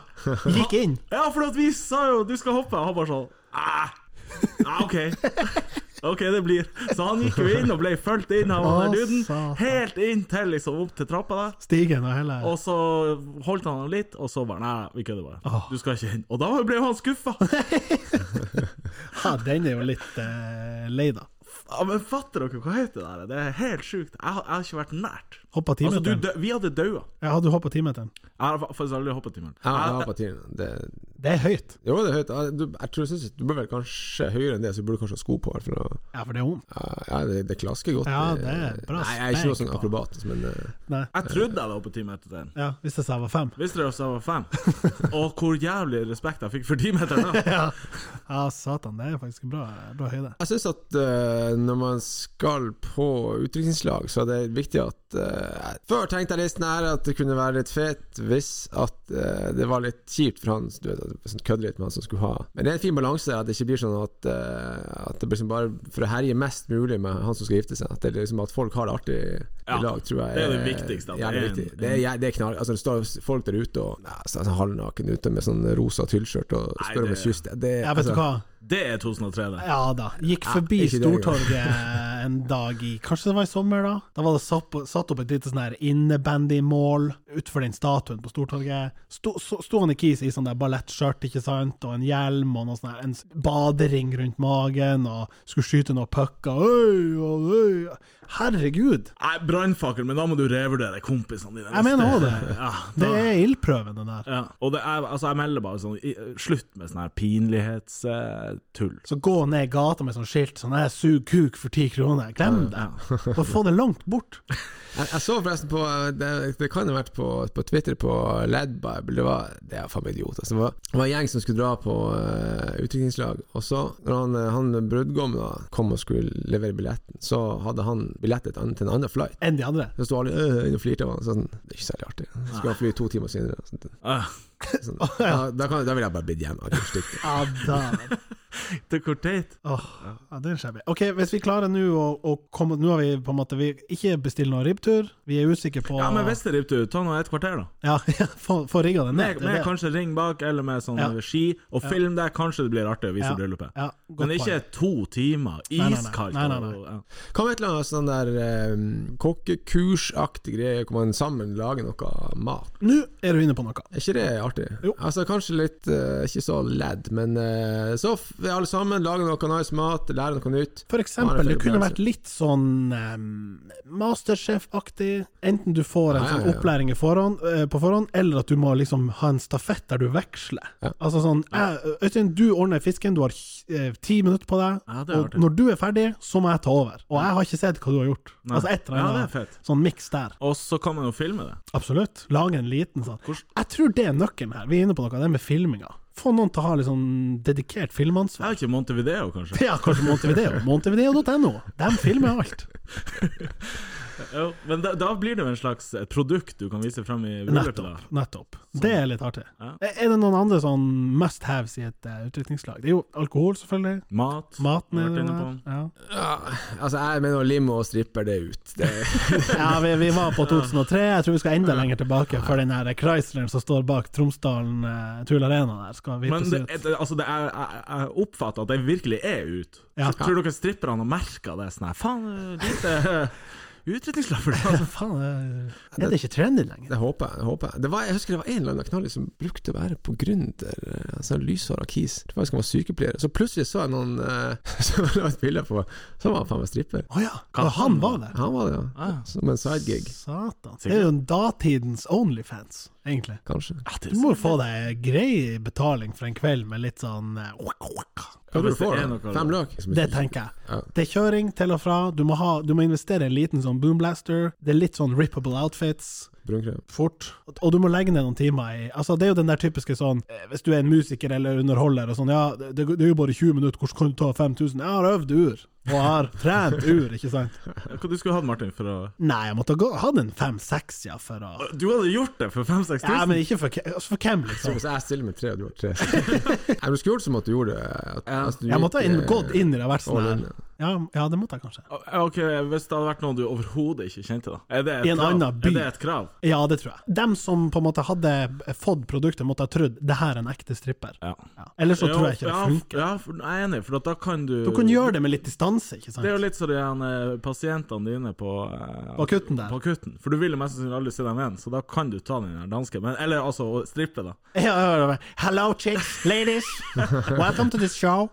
Speaker 2: Gikk inn.
Speaker 1: ja, for at vi sa jo du skal hoppe, og han bare sånn ah, ah, OK. OK, det blir. Så han gikk jo inn og ble fulgt inn av han der
Speaker 2: Å,
Speaker 1: duden.
Speaker 2: satan.
Speaker 1: Helt inn til liksom opp til trappa der.
Speaker 2: Stigen og hele
Speaker 1: Og så holdt han ham litt, og så bare Nei, vi kødder bare. Du skal ikke inn. Og da ble jo han skuffa.
Speaker 2: Ja, den er jo litt eh, lei, da.
Speaker 1: Ja, men fatter dere hva heter det der? Det er helt sjukt. Jeg, har- jeg har ikke vært nært.
Speaker 2: Hoppa
Speaker 1: Altså, du,
Speaker 2: timeteren.
Speaker 1: dø- vi hadde daua.
Speaker 2: ja, du hoppa timeteren.
Speaker 1: Jeg har faktisk aldri hoppet timer.
Speaker 10: Ja, jeg har på tiden. Det,
Speaker 2: Det er høyt.
Speaker 10: jo, det er høyt. Ja, Du, jeg tror, jeg synes, du bør vel kanskje høyere enn det, så du burde kanskje ha sko på. For å,
Speaker 2: Ja, for det er hun.
Speaker 10: ja, det, det klasker godt.
Speaker 2: Ja, det er bra
Speaker 10: Nei, jeg er ikke noe
Speaker 2: spenk
Speaker 10: sånn
Speaker 2: på.
Speaker 10: akrobatisk, men eh,
Speaker 2: Nei.
Speaker 1: Jeg trodde jeg hadde hoppet timer etter den.
Speaker 2: Ja, hvis det sa jeg var fem.
Speaker 1: Visste dere at jeg var fem? Og hvor jævlig respekt jeg fikk for timeteren da.
Speaker 2: Ja, ja satan. Det er faktisk bra, bra høyde.
Speaker 10: Jeg syns at eh, når man skal på utdrikningslag, så er det viktig at eh, Før tenkte jeg listen her at det kunne være litt fet hvis at eh, det var litt kjipt for han Du vet, at det sånn kødde litt med han som skulle ha Men det er en fin balanse der, at det ikke blir sånn at, eh, at det blir sånn bare for å herje mest mulig med han som skal gifte seg. At det er liksom at folk har det artig
Speaker 1: Ja,
Speaker 10: i lag, tror jeg.
Speaker 1: det er det viktigste, at
Speaker 10: jævlig
Speaker 1: det er en-
Speaker 10: viktig. Det er, jæ- det er knall... Altså, det står folk der ute og ja, så er han halvnaken ute med sånn rosa tyllskjørt og
Speaker 1: Nei,
Speaker 10: spør om
Speaker 1: det-
Speaker 10: et kyss. Det, det,
Speaker 2: Ja, vet du
Speaker 10: altså,
Speaker 2: hva?
Speaker 1: Det er 2003, det.
Speaker 2: Ja da. Gikk forbi
Speaker 10: ikke det,
Speaker 2: Stortorget en dag i Kanskje det var i sommer, da? Da var det satt, på, satt opp et lite sånn her innebandymål utenfor den statuen på Stortorget. Sto, så- sto han i kis i sånn der ballettskjørt, ikke sant, og en hjelm og noe sånn her, en s- badering rundt magen, og skulle skyte noen pucker. Øy, og øy. Herregud!
Speaker 1: Nei, brannfakkel, men da må du revurdere kompisene dine.
Speaker 2: Jeg mener også det.
Speaker 1: Ja,
Speaker 2: Det
Speaker 1: da,
Speaker 2: er ildprøven, den der.
Speaker 1: ja. Og det er, altså, jeg melder bare sånn i- Slutt med sånn her pinlighetstull.
Speaker 2: Så gå ned gata med sånn skilt sånn her, 'Sug kuk for ti kroner'. Glem det! Bare få det langt bort.
Speaker 10: Jeg, jeg så forresten på Det, det kan ha vært på, på Twitter på Ladbible. Det var Det er faen meg idiot. Altså, det, var, det var en gjeng som skulle dra på uh, utviklingslag. Og så, når han, eh, han brudgommen da kom og skulle levere billetten, så hadde han billett til en- til en annen flight.
Speaker 2: Enn de andre.
Speaker 10: Så sto alle øh, inne og flirte av han. Sånn, det er ikke særlig artig. Så skulle han fly to timer senere. og Sånn,
Speaker 1: Ah.
Speaker 10: sånn, da, da, kan, da vil jeg bare bitt hjem. og stikke.
Speaker 2: Ja, da.
Speaker 1: Det er hvor teit.
Speaker 2: Åh, ja, det er shabby. Ok, hvis vi klarer nå å, å komme Nå har vi på en måte vi ikke bestilt noen ribbtur. Vi er usikre på
Speaker 1: Ja, men hvis det ripper ut, ta nå et kvarter, da.
Speaker 2: Ja, ja, få, få rigga den
Speaker 1: Med,
Speaker 2: ned.
Speaker 1: med
Speaker 2: det er det.
Speaker 1: kanskje ring bak, eller med sånn
Speaker 2: Ja.
Speaker 1: ski, og film det. Kanskje det blir artig å vise
Speaker 2: Ja.
Speaker 1: bryllupet.
Speaker 2: Ja, godt
Speaker 1: Men ikke
Speaker 2: poeng.
Speaker 1: to timer
Speaker 2: nei, nei.
Speaker 1: iskaldt.
Speaker 2: Nei, nei, nei.
Speaker 1: og- ja.
Speaker 10: Hva med et eller annet sånn der eh, kokkekursaktig greie, hvor man sammen lager noe mat?
Speaker 2: Nå er du inne på noe.
Speaker 10: Er ikke det artig?
Speaker 2: Jo.
Speaker 10: Altså Kanskje litt eh, ikke så ledd, men eh, så f alle sammen lager noe nice mat, lærer noe nytt.
Speaker 2: For
Speaker 10: Ja,
Speaker 2: eksempel,
Speaker 10: det
Speaker 2: det
Speaker 10: er
Speaker 2: kunne
Speaker 10: opplevelse.
Speaker 2: vært litt sånn em, Masterchef-aktig. Enten du får en
Speaker 10: Ja, ja,
Speaker 2: sånn
Speaker 10: ja.
Speaker 2: opplæring i forhånd, eh, på forhånd, eller at du må liksom ha en stafett der du veksler. Altså sånn jeg, Øystein, du ordner fisken, du har eh, ti minutter på deg,
Speaker 1: Ja, det er
Speaker 2: og
Speaker 1: artig.
Speaker 2: når du er ferdig, så må jeg ta over. Og jeg har ikke sett hva du har gjort.
Speaker 1: Nei.
Speaker 2: Altså et eller
Speaker 1: Ja, det
Speaker 2: annet
Speaker 1: er fett.
Speaker 2: sånn miks der.
Speaker 1: Og så kan man jo filme det.
Speaker 2: Absolutt. Lage en liten sånn. Jeg tror det er nøkkelen her. Vi er inne på noe, det med filminga. Få noen til å ha litt sånn
Speaker 1: Jeg har
Speaker 2: dedikert filmansvar.
Speaker 1: ikke Montevideo, kanskje.
Speaker 2: Ja, kanskje Montevideo. Montevideo.no. De filmer alt.
Speaker 1: Jo, men da, da blir det jo en slags et produkt du kan vise frem i bryllupet. da.
Speaker 2: Nettopp. nettopp. Det er litt artig.
Speaker 1: Ja.
Speaker 2: Er det noen andre sånn must haves i et uh, utdrikningslag? Det er jo alkohol, selvfølgelig.
Speaker 1: Mat.
Speaker 2: Maten eh,
Speaker 1: har
Speaker 2: er
Speaker 1: vært
Speaker 2: det
Speaker 1: inne
Speaker 2: der.
Speaker 1: på.
Speaker 2: Ja,
Speaker 10: Ja, altså Jeg mener limo og stripper, det er ut. Det,
Speaker 2: ja vi, vi var på 2003. Jeg tror vi skal enda lenger tilbake, for den her Chrysleren som står bak Tromsdalen uh, Tull Arena der, skal
Speaker 1: Men
Speaker 2: vippes
Speaker 1: det,
Speaker 2: ut.
Speaker 1: et- altså det er, jeg, jeg oppfatter at det virkelig er ut.
Speaker 2: Ja.
Speaker 1: Tror dere stripperne har merka det? Sånn her, faen, eh, lite Utrydningslag for
Speaker 2: Ja, faen, er det ikke trendy lenger?
Speaker 10: Det håper jeg. det håper jeg. Det var, jeg husker det var en eller annen knallis som brukte å være på gründer, eh, altså lyshåra kis. Det var faktisk han var sykepleier. Så plutselig så jeg noen eh, som la et bilde på Så var han faen meg stripper.
Speaker 2: Å ja, og han var der.
Speaker 10: Han var det, ja.
Speaker 2: Ah.
Speaker 10: Som en sidegig,
Speaker 2: Satan. Det er jo datidens Onlyfans, egentlig.
Speaker 10: kanskje.
Speaker 2: Du må jo få deg grei betaling for en kveld med litt sånn eh, wak, wak.
Speaker 10: Hva tror du
Speaker 1: hvis det
Speaker 10: får
Speaker 1: er
Speaker 10: da?
Speaker 1: noe-
Speaker 10: Fem løk?
Speaker 2: Det tenker
Speaker 10: Ja.
Speaker 2: jeg. Det er kjøring til og fra. Du må, ha, du må investere i en liten sånn boomblaster. Det er litt sånn rippable outfits.
Speaker 10: Brunkrem.
Speaker 2: Fort. Og du må legge ned noen timer i Altså, det er jo den der typiske sånn eh, Hvis du er en musiker eller underholder og sånn, ja, det, det er jo bare 20 minutter, hvordan kan du ta 5000? Jeg har øvd ur. Og jeg har trent ur, ikke sant?
Speaker 1: Hva du skulle hatt, Martin, for å
Speaker 2: Nei, jeg måtte ha gå- hatt en fem-seks, ja, for å
Speaker 1: Du hadde gjort det for 5000-6000?
Speaker 2: Ja, men ikke for, ke- altså, for hvem,
Speaker 10: Så
Speaker 2: liksom.
Speaker 10: hvis jeg stiller med tre, og du har tre Nei, Du skulle gjort som at du gjorde det. At, altså, du
Speaker 2: Jeg måtte ha
Speaker 10: gikk,
Speaker 2: inn,
Speaker 10: eh,
Speaker 2: gått inn i det verste
Speaker 10: all
Speaker 2: der.
Speaker 10: in, ja.
Speaker 2: Ja, ja, det måtte jeg kanskje.
Speaker 1: Ok, Hvis det hadde vært noen du overhodet ikke kjente, da? Er det et
Speaker 2: I en
Speaker 1: krav?
Speaker 2: annen by.
Speaker 1: Er det et krav?
Speaker 2: Ja, det tror jeg. Dem som på en måte hadde fått produktet, måtte ha trodd det her er en ekte stripper.
Speaker 1: Ja.
Speaker 2: Ja. Ellers så tror jeg ikke det
Speaker 1: ja,
Speaker 2: funker.
Speaker 1: Ja, for, jeg er enig, for at da kan du
Speaker 2: Du kan gjøre det med litt distanse, ikke sant?
Speaker 1: Det er jo litt som de her, eh, pasientene dine på eh,
Speaker 2: På akutten der.
Speaker 1: På akutten. For du vil jo mest sannsynlig aldri se dem igjen, så da kan du ta den her danske. Men, eller altså å strippe, da.
Speaker 2: Ja, ja, ja. Hello, chicks, ladies, welcome to this show.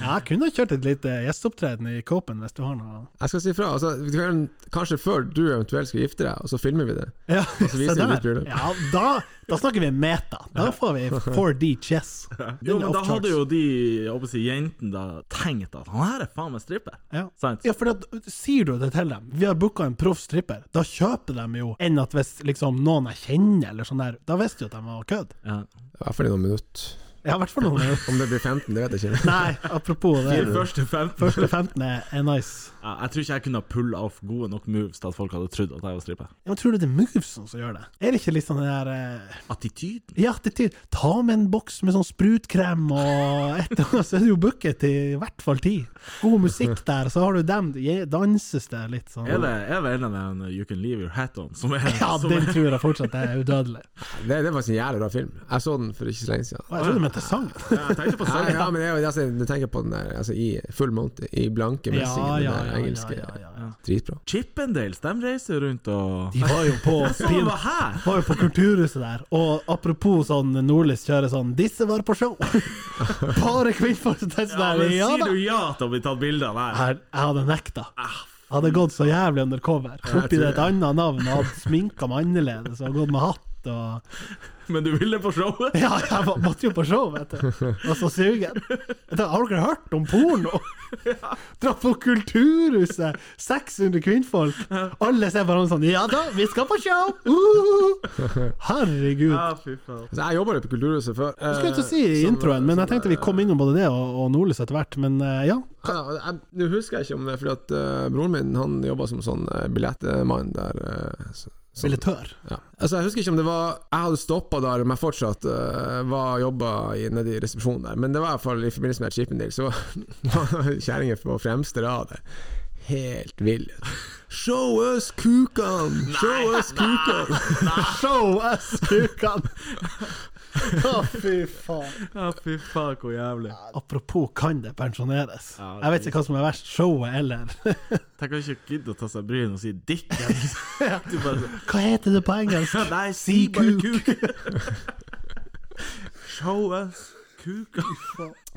Speaker 2: Ja, jeg kunne ha kjørt et lite gjesteopptreden i Copen hvis du har noe
Speaker 10: Jeg skal si fra. Altså, vi kan- kanskje før du eventuelt skal gifte deg, og så filmer vi det.
Speaker 2: Ja,
Speaker 10: så viser
Speaker 2: se
Speaker 10: vi
Speaker 2: der.
Speaker 10: litt bryllup.
Speaker 2: Ja, da, da snakker vi meta. Da får vi 4D chess.
Speaker 1: Jo, men da
Speaker 2: Off-charts.
Speaker 1: hadde jo de jeg håper å si, jentene da tenkt at han her er faen meg stripper.
Speaker 2: Ja.
Speaker 1: Sant?
Speaker 2: Ja, for da sier du det til dem. Vi har booka en proff stripper. Da kjøper de jo enn at hvis liksom noen jeg kjenner, eller sånn der, da visste jo at de var kødd.
Speaker 1: Ja.
Speaker 10: I hvert fall i noen minutter.
Speaker 2: Ja, i hvert fall noen minutter.
Speaker 10: Om det blir 15, det vet jeg ikke.
Speaker 2: Nei, apropos det.
Speaker 1: De første 15
Speaker 2: Første 15 er, er nice.
Speaker 1: ja, Jeg tror ikke jeg kunne ha pulla off gode nok moves til at folk hadde trodd at jeg var stripper.
Speaker 2: Ja, men tror du det er movesen som gjør det? Er det ikke litt sånn den der eh,
Speaker 1: Attityd?
Speaker 2: Ja, det til, ta med en boks med sånn sprutkrem og et eller annet, så er det jo booket til i hvert fall ti. God musikk der, så har du dem, je- danses det litt sånn.
Speaker 1: Er det, er det en av den uh, You Can Leave Your Hat On som er
Speaker 2: Ja,
Speaker 1: som
Speaker 2: den
Speaker 1: er-
Speaker 2: tror jeg fortsatt er udødelig.
Speaker 10: Det, det var faktisk en jævlig bra film. Jeg så den for ikke så lenge siden.
Speaker 2: Og Jeg trodde du mente sangen.
Speaker 1: Ja, Jeg tenkte på sånn.
Speaker 10: Nei,
Speaker 1: sangen.
Speaker 10: ja, men det er jo altså, Du tenker på den der altså, i full monty, i blanke
Speaker 2: Ja,
Speaker 10: messingen,
Speaker 2: ja,
Speaker 10: den der
Speaker 2: ja,
Speaker 10: engelske.
Speaker 2: ja, ja, ja.
Speaker 10: Dritbra.
Speaker 1: Chippendales, de reiser rundt og
Speaker 2: De var jo på
Speaker 1: Så han var her!
Speaker 2: var jo på kulturhuset der, og apropos sånn Nordlys kjører sånn 'Disse var på show'! Bare kvinnfolk som tenker
Speaker 1: Ja,
Speaker 2: sånn
Speaker 1: men
Speaker 2: der, ja
Speaker 1: sier
Speaker 2: da!
Speaker 1: du Ah, ja til å bli tatt bilde av der?
Speaker 2: Her, jeg hadde nekta. Jeg hadde gått så jævlig undercover. Oppi det et annet navn, og hadde sminka meg annerledes og gått med hatt og
Speaker 1: Men du ville på showet?
Speaker 2: Ja, jeg var- måtte jo på show, vet du. Var så sugen. Jeg tenkte, Har dere hørt om porno? Dra på Kulturhuset, 600 kvinnfolk. Alle ser hverandre sånn 'Ja da, vi skal på show!' Uh! Herregud.
Speaker 1: fy faen.
Speaker 10: Altså, jeg jobba litt på Kulturhuset før. eh,
Speaker 2: Jeg skulle til å si i
Speaker 10: som-
Speaker 2: introen, men jeg tenkte vi kom innom både sånn det og, og Nordlys etter hvert. Men eh, ja,
Speaker 10: Ja, jeg- Nå husker jeg ikke om det, fordi at eh, broren min han jobba som sånn eh, billettmann der. eh, så, sånn-
Speaker 2: billettør.
Speaker 10: Ja. Altså, jeg husker ikke om det var Jeg hadde stoppa der, men jeg fortsatt eh, var jobba i- nede i resepsjonen der. Men det var i hvert fall i forbindelse med Chippendale, så var kjerringa på fremste rad der. Helt vill. Show us kukan! Show us kukan!
Speaker 2: Show us kukan! Å, fy faen.
Speaker 1: Ja, fy faen, hvor jævlig.
Speaker 2: Apropos kan det pensjoneres.
Speaker 1: Ja,
Speaker 2: Jeg vet ikke hva som er verst, showet eller
Speaker 1: Tenk å ikke gidde å ta seg bryet og si dick. Du bare
Speaker 2: Hva heter det på engelsk?
Speaker 1: Nei,
Speaker 2: si bare
Speaker 1: Show us kuka.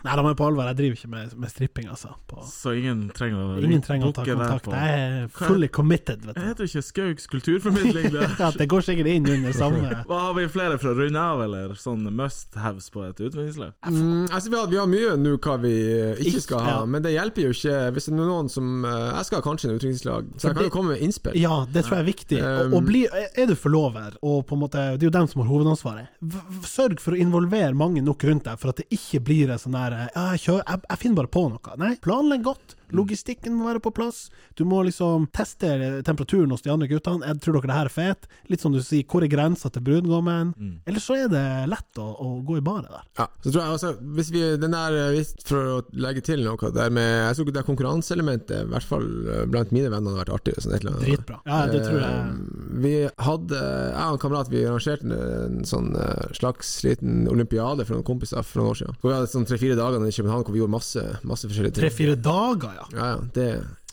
Speaker 2: Nei, da må jeg på alvor, jeg driver ikke med, med stripping, altså. På.
Speaker 1: Så ingen trenger å
Speaker 2: Ingen trenger å ta
Speaker 1: booke deg
Speaker 2: kontakt.
Speaker 1: på-
Speaker 2: Jeg er fully committed, vet
Speaker 1: Jeg
Speaker 2: du.
Speaker 1: heter ikke Skaugs kulturformidling. det.
Speaker 2: Ja, det går sikkert inn under samme
Speaker 1: Hva Har vi flere fra å runde av, eller sånn must haves på et utviklingsløp?
Speaker 10: Mm, altså, vi har, vi har mye nå hva vi eh, ikke skal ha,
Speaker 2: ja.
Speaker 10: men det hjelper jo ikke hvis det er noen som eh, Jeg skal kanskje en utdrikningslag, så jeg kan jo komme med innspill.
Speaker 2: Ja, det tror jeg er viktig. Og, og bli, er du forlover, og på en måte, det er jo dem som har hovedansvaret, v- v- sørg for å involvere mange nok rundt deg, for at det ikke blir en sånn der ja, jeg, kjører, jeg, jeg finner bare på noe. Nei, planlegg godt. Logistikken må være på plass. Du må liksom teste temperaturen hos de andre guttene. Jeg tror dere det her er fett? Litt som du sier, hvor er grensa til brudgommen? Eller så er det lett å, å gå i baret der.
Speaker 10: Ja, så tror jeg også, hvis vi, den der, eh, hvis, For å legge til noe der med Jeg tror ikke det konkurranseelementet, i hvert fall eh, blant mine venner, hadde vært artig. Sånn, et eller annet.
Speaker 2: Dritbra. Ja, det tror jeg.
Speaker 10: Eh, Vi hadde Jeg og en kamerat Vi arrangerte en, en sånn eh, slags liten olympiade for noen kompiser for noen år siden. Hvor vi hadde sånn tre-fire dager nede i København hvor vi gjorde masse, masse forskjellige ting.
Speaker 2: Tre-fire dager, ja.
Speaker 10: Ja, ja, det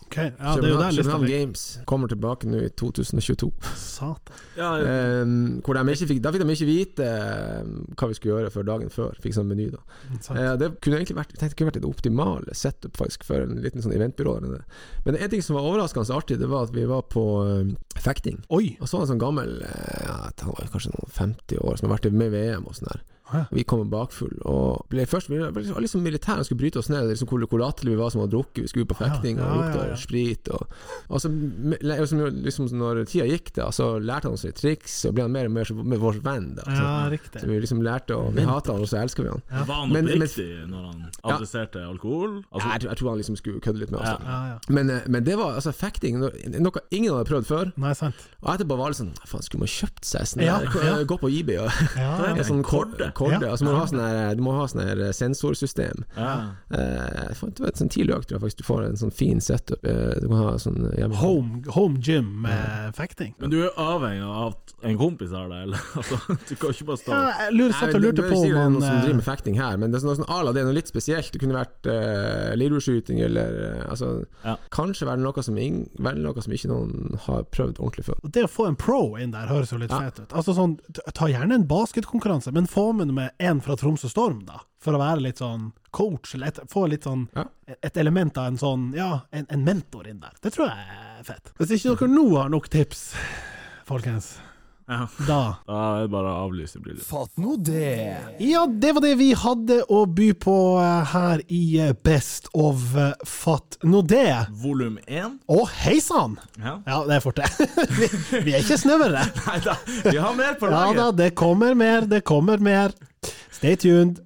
Speaker 2: Ok, ja, det er jo der lista
Speaker 10: København
Speaker 2: ligger.
Speaker 10: Games kommer tilbake nå i 2022.
Speaker 2: Satan.
Speaker 10: Ehm, hvor de ikke fikk, da fikk de ikke vite ehm, hva vi skulle gjøre før dagen før. Fikk sånn meny, da.
Speaker 2: Sant.
Speaker 10: Eh, det kunne egentlig vært, jeg tenkte, det kunne vært et optimale setup faktisk for en liten sånn eventbyrå. eller noe. Men en ting som var overraskende artig, det var at vi var på eh, fekting.
Speaker 2: Oi!
Speaker 10: Og så var det en sånn gammel eh, ja, Han var jo kanskje noen 50 år, som har vært med i VM og sånn der.
Speaker 2: Ja.
Speaker 10: Vi kom bakfull og ble først Vi var liksom- liksom militære og skulle bryte oss ned. Liksom hvor, hvor latterlige vi var som hadde drukket. Vi skulle ut på
Speaker 2: Ja,
Speaker 10: fekting
Speaker 2: ja,
Speaker 10: og lukta
Speaker 2: ja, ja.
Speaker 10: sprit. Og, og så, me- le- liksom, liksom, når tida gikk, da, så lærte han oss litt triks, og ble han mer og mer som- med vår venn. Da,
Speaker 2: Sånn, Ja,
Speaker 10: så,
Speaker 2: riktig.
Speaker 10: så vi liksom lærte å Vi hater han, og så elsker vi han.
Speaker 2: Ja.
Speaker 1: Var han
Speaker 10: Men- men-
Speaker 1: oppriktig når han adresserte alkohol? Altså,
Speaker 10: Nei, jeg, tror- jeg tror han liksom skulle kødde litt med oss. da.
Speaker 2: Ja, ja.
Speaker 10: Men, eh, men det var altså fekting, no- noe ingen hadde prøvd før.
Speaker 2: Nei, sant.
Speaker 10: Og etterpå var det sånn Faen, skulle man kjøpt seg sånn
Speaker 2: Ja,
Speaker 10: der? Gå-
Speaker 2: ja.
Speaker 10: Gå på eBay og
Speaker 2: Ja,
Speaker 10: en
Speaker 2: ja.
Speaker 10: sånn korde. korde
Speaker 2: Ja.
Speaker 10: Og så må du ha sånn her, du må ha sånn her sensorsystem. Eh, jeg fant et sånn tidlig økt, tror jeg faktisk du får en sånn fin setup. Eh, du kan ha sånn hjemme-
Speaker 2: Home, home gym med fekting.
Speaker 1: Men du er avhengig av at en kompis har deg, eller? Altså, du kan ikke bare stå
Speaker 2: Ja, jeg lurer,
Speaker 10: Nei,
Speaker 2: satt
Speaker 10: men
Speaker 2: og
Speaker 10: det-
Speaker 2: lurte
Speaker 10: det er
Speaker 2: på
Speaker 10: sikkert
Speaker 2: om
Speaker 10: noen som driver
Speaker 2: han eh,
Speaker 10: med fekting her, men det er sånn- noe sånn à la det, noe litt spesielt. Det kunne vært uh, lirurskyting eller eh, Altså,
Speaker 1: Ja.
Speaker 10: kanskje være noe, som ing, være noe som ikke noen har prøvd ordentlig før.
Speaker 2: Og Det å få en pro inn der høres jo litt
Speaker 10: Ja.
Speaker 2: fett ut. Altså sånn, t- Ta gjerne en basketkonkurranse, men få med med en fra Tromsø Storm, da. For å være litt sånn coach, eller et, få litt sånn
Speaker 10: Ja.
Speaker 2: et element av en sånn Ja, en, en mentor inn der. Det tror jeg er fett. Hvis ikke dere nå har nok tips, folkens,
Speaker 1: Ja.
Speaker 2: da
Speaker 1: Da er det bare å avlyse bryllupet.
Speaker 5: Fatt nå det!
Speaker 2: Ja, det var det vi hadde å by på eh, her i eh, Best of eh, Fatt nå det.
Speaker 1: Volum én?
Speaker 2: Å, hei sann!
Speaker 1: Ja.
Speaker 2: Ja, det er fort, det. vi, vi er ikke snøvere.
Speaker 1: Nei da, vi har mer på
Speaker 2: Ja
Speaker 1: laget!
Speaker 2: da, det kommer mer, det kommer mer. Stay tuned.